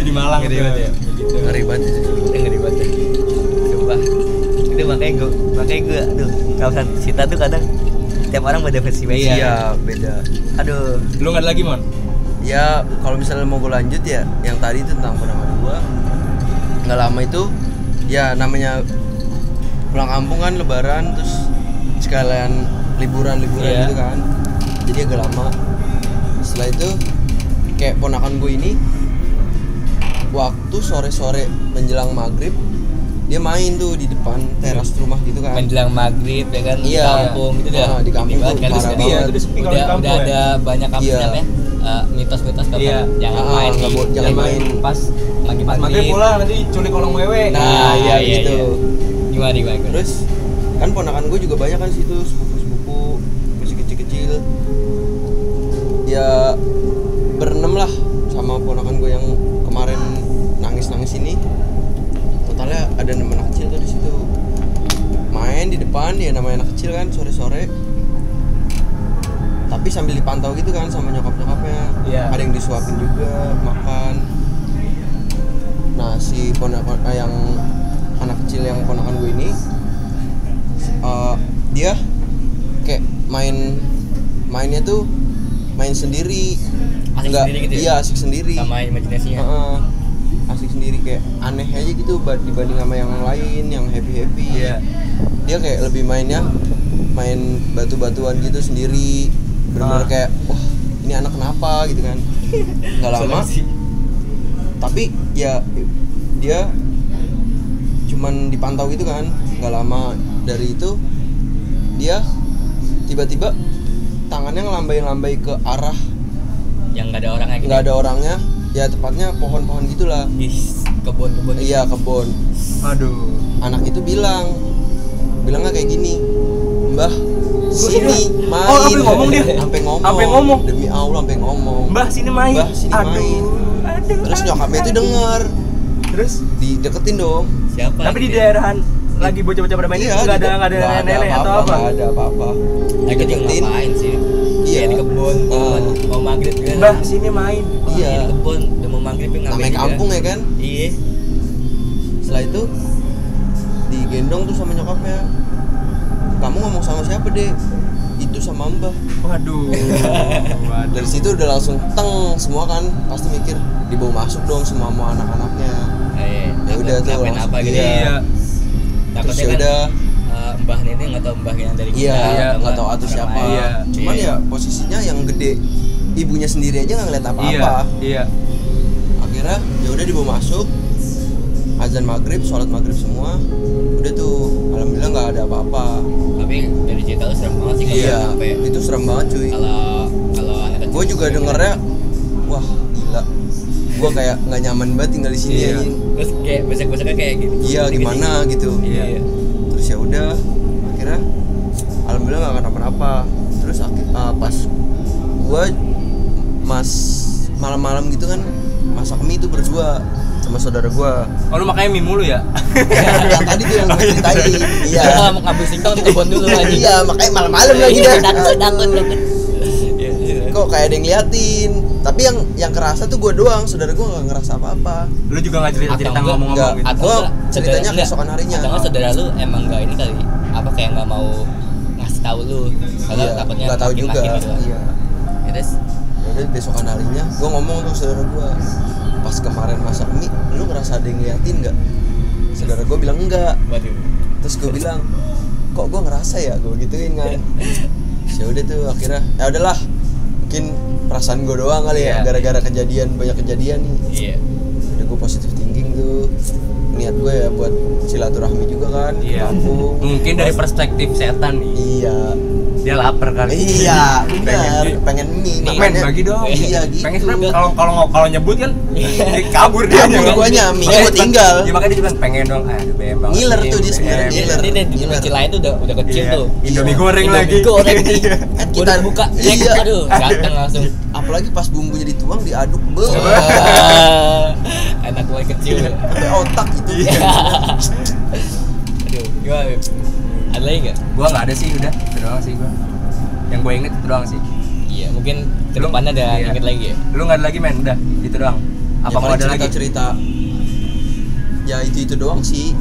[SPEAKER 2] di Malang
[SPEAKER 3] Ngeri
[SPEAKER 2] tuh.
[SPEAKER 3] banget ya.
[SPEAKER 2] gitu.
[SPEAKER 4] ngeri banget
[SPEAKER 3] Itu ngeri banget ya. Sumpah Itu makanya gue Makanya gue Aduh Kawasan Sita tuh kadang Tiap orang beda versi versi
[SPEAKER 2] Iya.
[SPEAKER 4] iya beda
[SPEAKER 3] Aduh
[SPEAKER 2] lu nggak ada lagi mon
[SPEAKER 4] ya kalau misalnya mau gue lanjut ya yang tadi itu tentang penama gua nggak lama itu ya namanya pulang kampung kan lebaran terus sekalian liburan liburan
[SPEAKER 2] Iya.
[SPEAKER 4] gitu kan jadi agak lama setelah itu kayak ponakan gue ini waktu sore sore menjelang maghrib dia main tuh di depan teras rumah gitu kan
[SPEAKER 3] Menjelang maghrib ya kan
[SPEAKER 4] Iya.
[SPEAKER 3] Di kampung gitu dah
[SPEAKER 4] Ah, di kampung
[SPEAKER 3] Ini banget
[SPEAKER 4] tuh
[SPEAKER 3] kan,
[SPEAKER 4] parah
[SPEAKER 3] sepi
[SPEAKER 4] banget.
[SPEAKER 3] ya, terus
[SPEAKER 6] Sepi kalau di
[SPEAKER 3] Udah,
[SPEAKER 6] kampung
[SPEAKER 3] udah
[SPEAKER 6] ya.
[SPEAKER 3] ada banyak kampus
[SPEAKER 4] Iya.
[SPEAKER 3] namanya eh, Mitos-mitos kan
[SPEAKER 2] Iya.
[SPEAKER 3] Jangan
[SPEAKER 4] Ah,
[SPEAKER 3] main
[SPEAKER 4] nggak
[SPEAKER 3] di-
[SPEAKER 4] boleh- jangan main.
[SPEAKER 3] Pas lagi maghrib
[SPEAKER 6] Maghrib pulang nanti culik kolong wewe.
[SPEAKER 4] nah ya
[SPEAKER 3] iya,
[SPEAKER 4] gitu
[SPEAKER 3] iya. Gimana gimana gimana?
[SPEAKER 4] Terus kan ponakan gue juga banyak kan situ sepupu-sepupu masih kecil-kecil. ya berenam lah sama ponakan gue yang kemarin nangis nangis ini totalnya ada enam anak kecil tuh di situ main di depan ya namanya anak kecil kan sore sore tapi sambil dipantau gitu kan sama nyokap nyokapnya
[SPEAKER 2] Iya.
[SPEAKER 4] ada yang disuapin juga makan nah si ponakan eh, yang anak kecil yang ponakan gue ini eh, dia kayak main mainnya tuh main sendiri
[SPEAKER 3] Asik sendiri gitu ya?
[SPEAKER 4] iya asik sendiri
[SPEAKER 3] sama imajinasinya
[SPEAKER 4] Heeh. asik sendiri kayak aneh aja gitu ba- dibanding sama yang lain yang happy happy
[SPEAKER 2] Iya.
[SPEAKER 4] dia kayak lebih mainnya main batu-batuan gitu sendiri
[SPEAKER 2] Ah.
[SPEAKER 4] benar kayak wah ini anak kenapa gitu kan nggak lama tapi ya dia cuman dipantau gitu kan nggak lama dari itu dia tiba-tiba tangannya ngelambai-lambai ke arah
[SPEAKER 3] yang nggak ada orangnya gitu
[SPEAKER 4] nggak ada orangnya ya tepatnya pohon-pohon gitulah
[SPEAKER 3] di kebun-kebun gitu.
[SPEAKER 4] iya kebon
[SPEAKER 2] Aduh.
[SPEAKER 4] anak itu bilang bilangnya kayak gini mbah sini main
[SPEAKER 2] Oh, sampai ngomong dia?
[SPEAKER 4] Sampai ngomong
[SPEAKER 2] Sampai ngomong?
[SPEAKER 4] demi allah sampai ngomong
[SPEAKER 2] Mbah sini main.
[SPEAKER 4] Mbah, sini
[SPEAKER 2] aduh.
[SPEAKER 4] main.
[SPEAKER 2] Aduh.
[SPEAKER 4] terus
[SPEAKER 2] aduh,
[SPEAKER 4] nyokapnya itu
[SPEAKER 2] aduh.
[SPEAKER 4] denger
[SPEAKER 2] Terus
[SPEAKER 4] dideketin dong
[SPEAKER 3] siapa
[SPEAKER 2] tapi di
[SPEAKER 3] gitu ya?
[SPEAKER 2] daerahan lagi bocah-bocah pada main
[SPEAKER 4] Iya,
[SPEAKER 3] gitu.
[SPEAKER 2] nggak ada
[SPEAKER 4] didek-
[SPEAKER 2] nggak ada
[SPEAKER 4] nggak
[SPEAKER 2] nenek-nenek atau apa?
[SPEAKER 4] apa-apa, nggak ada apa-apa
[SPEAKER 3] lagi di
[SPEAKER 4] dideketin
[SPEAKER 3] ngapain sih
[SPEAKER 4] Iya.
[SPEAKER 3] Kayak di kebun
[SPEAKER 4] Ah.
[SPEAKER 3] mau maghrib juga
[SPEAKER 2] Mbah sini main.
[SPEAKER 3] Wah,
[SPEAKER 4] Iya.
[SPEAKER 3] di kebun udah mau maghrib ya, ngapain
[SPEAKER 2] gitu
[SPEAKER 4] namanya
[SPEAKER 3] juga.
[SPEAKER 4] kampung ya kan
[SPEAKER 3] iya
[SPEAKER 4] setelah itu digendong tuh sama nyokapnya kamu ngomong sama siapa deh itu sama mbah
[SPEAKER 2] Waduh. Waduh.
[SPEAKER 4] dari situ udah langsung teng semua kan pasti mikir dibawa masuk dong semua sama anak-anaknya
[SPEAKER 3] Eh, iya.
[SPEAKER 4] ya
[SPEAKER 3] Takut
[SPEAKER 4] udah tuh
[SPEAKER 3] ngapain
[SPEAKER 4] langsung-
[SPEAKER 3] apa gitu
[SPEAKER 4] iya.
[SPEAKER 2] Iya.
[SPEAKER 4] terus
[SPEAKER 3] takutnya
[SPEAKER 4] ya
[SPEAKER 3] kan
[SPEAKER 4] udah
[SPEAKER 3] eh, mbah nenek nggak tahu mbah yang dari kita
[SPEAKER 4] iya
[SPEAKER 2] iya,
[SPEAKER 3] atau
[SPEAKER 4] nggak
[SPEAKER 3] nggak
[SPEAKER 4] tahu atau
[SPEAKER 3] orang
[SPEAKER 4] siapa
[SPEAKER 3] lain.
[SPEAKER 2] Iya.
[SPEAKER 4] cuman
[SPEAKER 3] Iya.
[SPEAKER 4] ya posisinya yang gede ibunya sendiri aja nggak ngeliat
[SPEAKER 2] Iya.
[SPEAKER 4] apa-apa
[SPEAKER 2] Iya.
[SPEAKER 4] akhirnya ya udah dibawa masuk azan maghrib sholat maghrib semua udah tuh alhamdulillah nggak ada apa-apa
[SPEAKER 3] tapi dari cerita lu serem banget sih kalau
[SPEAKER 4] iya
[SPEAKER 3] sampai
[SPEAKER 4] itu serem banget cuy
[SPEAKER 3] ya? kalau kalau anak kecil gitu. Iya.
[SPEAKER 4] gue juga
[SPEAKER 3] sampai-
[SPEAKER 4] dengernya wah gila gue kayak nggak nyaman banget tinggal di sini
[SPEAKER 2] Iya.
[SPEAKER 4] anjing.
[SPEAKER 3] terus kayak besok-besoknya kayak gitu
[SPEAKER 4] iya
[SPEAKER 3] Gitu-gitu.
[SPEAKER 4] gimana gitu
[SPEAKER 3] iya
[SPEAKER 2] Iya.
[SPEAKER 4] terus ya udah akhirnya alhamdulillah nggak kenapa-napa terus ak- ah, pas gue mas malam-malam gitu kan masak mie itu berdua sama saudara gue
[SPEAKER 2] Oh lu makanya mie mulu ya?
[SPEAKER 4] Iya, yang tadi tuh yang gue ceritain iya
[SPEAKER 7] Kalau mau ngambil singkong di kebun dulu lagi
[SPEAKER 4] iya makanya malam-malam lagi kan? dah
[SPEAKER 7] takut takut takut.
[SPEAKER 3] Iya, iya.
[SPEAKER 4] kok kayak ada yang ngeliatin tapi yang yang kerasa tuh gue doang saudara gue nggak ngerasa apa-apa
[SPEAKER 2] Lu juga nggak cerita cerita
[SPEAKER 3] Atau enggak,
[SPEAKER 2] ngomong-ngomong gitu?
[SPEAKER 4] enggak.
[SPEAKER 3] atau
[SPEAKER 4] Gua
[SPEAKER 3] enggak,
[SPEAKER 4] ceritanya
[SPEAKER 3] saudara- enggak.
[SPEAKER 4] keesokan harinya.
[SPEAKER 3] atau enggak saudara lu emang enggak ini kali apa kayak enggak mau ngasih tahu lu kalau
[SPEAKER 4] Iya,
[SPEAKER 3] takutnya
[SPEAKER 4] nggak tahu juga
[SPEAKER 3] makin-makin gitu kan.
[SPEAKER 4] iya
[SPEAKER 3] Ya, terus
[SPEAKER 4] Yaudah besokan harinya gue ngomong tuh saudara gue pas kemarin masak mie lu ngerasa ada yang ngeliatin nggak saudara gue bilang enggak
[SPEAKER 3] waduh
[SPEAKER 4] terus gue bilang kok gue ngerasa ya gue gituin kan Terus ya udah tuh akhirnya ya udahlah mungkin perasaan gue doang kali ya
[SPEAKER 2] Iya.
[SPEAKER 4] gara-gara kejadian banyak kejadian nih
[SPEAKER 3] iya
[SPEAKER 4] udah gue positif thinking tuh niat gue ya buat silaturahmi juga kan ke
[SPEAKER 2] Iya.
[SPEAKER 4] kampung.
[SPEAKER 2] Mungkin dari perspektif setan nih,
[SPEAKER 4] iya
[SPEAKER 2] dia lapar kali.
[SPEAKER 4] iya benar
[SPEAKER 2] Pengen-
[SPEAKER 4] pengen mie
[SPEAKER 2] Pengen
[SPEAKER 4] makanya
[SPEAKER 2] bagi dong.
[SPEAKER 4] iya gitu Iya.
[SPEAKER 2] Pengen sebenarnya kalau kalau kalau nyebut kan dia kabur dia
[SPEAKER 4] Kabur
[SPEAKER 2] kan?
[SPEAKER 4] guanya, mie gua
[SPEAKER 2] Makanya-
[SPEAKER 4] tinggal.
[SPEAKER 2] Ya makanya dia cuma pengen dong. Ah, BM banget.
[SPEAKER 4] Ngiler tuh dia
[SPEAKER 2] BM.
[SPEAKER 4] sebenarnya,
[SPEAKER 2] Iya.
[SPEAKER 4] ngiler.
[SPEAKER 3] ini nih di
[SPEAKER 4] Gimana?
[SPEAKER 3] kecil lain tuh udah udah kecil tuh
[SPEAKER 2] Indomie
[SPEAKER 4] Iya.
[SPEAKER 2] goreng lagi.
[SPEAKER 3] Indomie goreng nih
[SPEAKER 4] Kan
[SPEAKER 3] Gua
[SPEAKER 4] kita-
[SPEAKER 3] udah buka
[SPEAKER 4] Iya.
[SPEAKER 3] iya. aduh ganteng langsung
[SPEAKER 2] Iya.
[SPEAKER 4] apalagi pas bumbunya dituang diaduk be
[SPEAKER 3] Wah, anak gue kecil
[SPEAKER 2] Iya.
[SPEAKER 4] sampai otak gitu
[SPEAKER 3] aduh gimana Beb? ada lagi nggak
[SPEAKER 2] Gua nggak ada sih udah, itu doang sih gua. Yang gue inget itu doang sih.
[SPEAKER 3] iya mungkin kedepannya ada
[SPEAKER 2] Iya.
[SPEAKER 3] inget lagi ya
[SPEAKER 2] Lu nggak ada lagi men, udah itu doang. Apa mau ada lagi?
[SPEAKER 4] cerita ya itu itu doang sih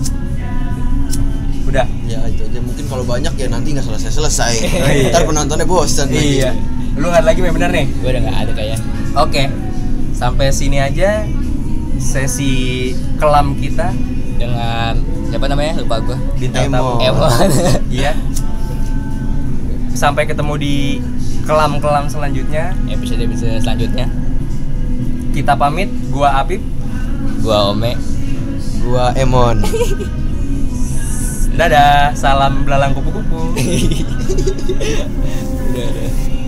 [SPEAKER 2] Udah.
[SPEAKER 4] ya itu aja mungkin kalau banyak ya nanti nggak selesai selesai
[SPEAKER 2] Oh, iya.
[SPEAKER 4] ntar penontonnya bosan lagi.
[SPEAKER 2] Iya. Lu nggak ada lagi men bener nih.
[SPEAKER 3] gue udah nggak ada kayaknya
[SPEAKER 2] Oke. Sampai sini aja sesi kelam kita
[SPEAKER 3] dengan siapa namanya lupa gue
[SPEAKER 2] bintang tamu.
[SPEAKER 4] Emo.
[SPEAKER 3] Emon
[SPEAKER 2] Iya. Sampai ketemu di kelam-kelam selanjutnya.
[SPEAKER 3] episode episode selanjutnya
[SPEAKER 2] Kita pamit, gua Apip.
[SPEAKER 3] gua Ome
[SPEAKER 4] gua Emon
[SPEAKER 2] Dadah, salam belalang kupu-kupu.
[SPEAKER 3] udah udah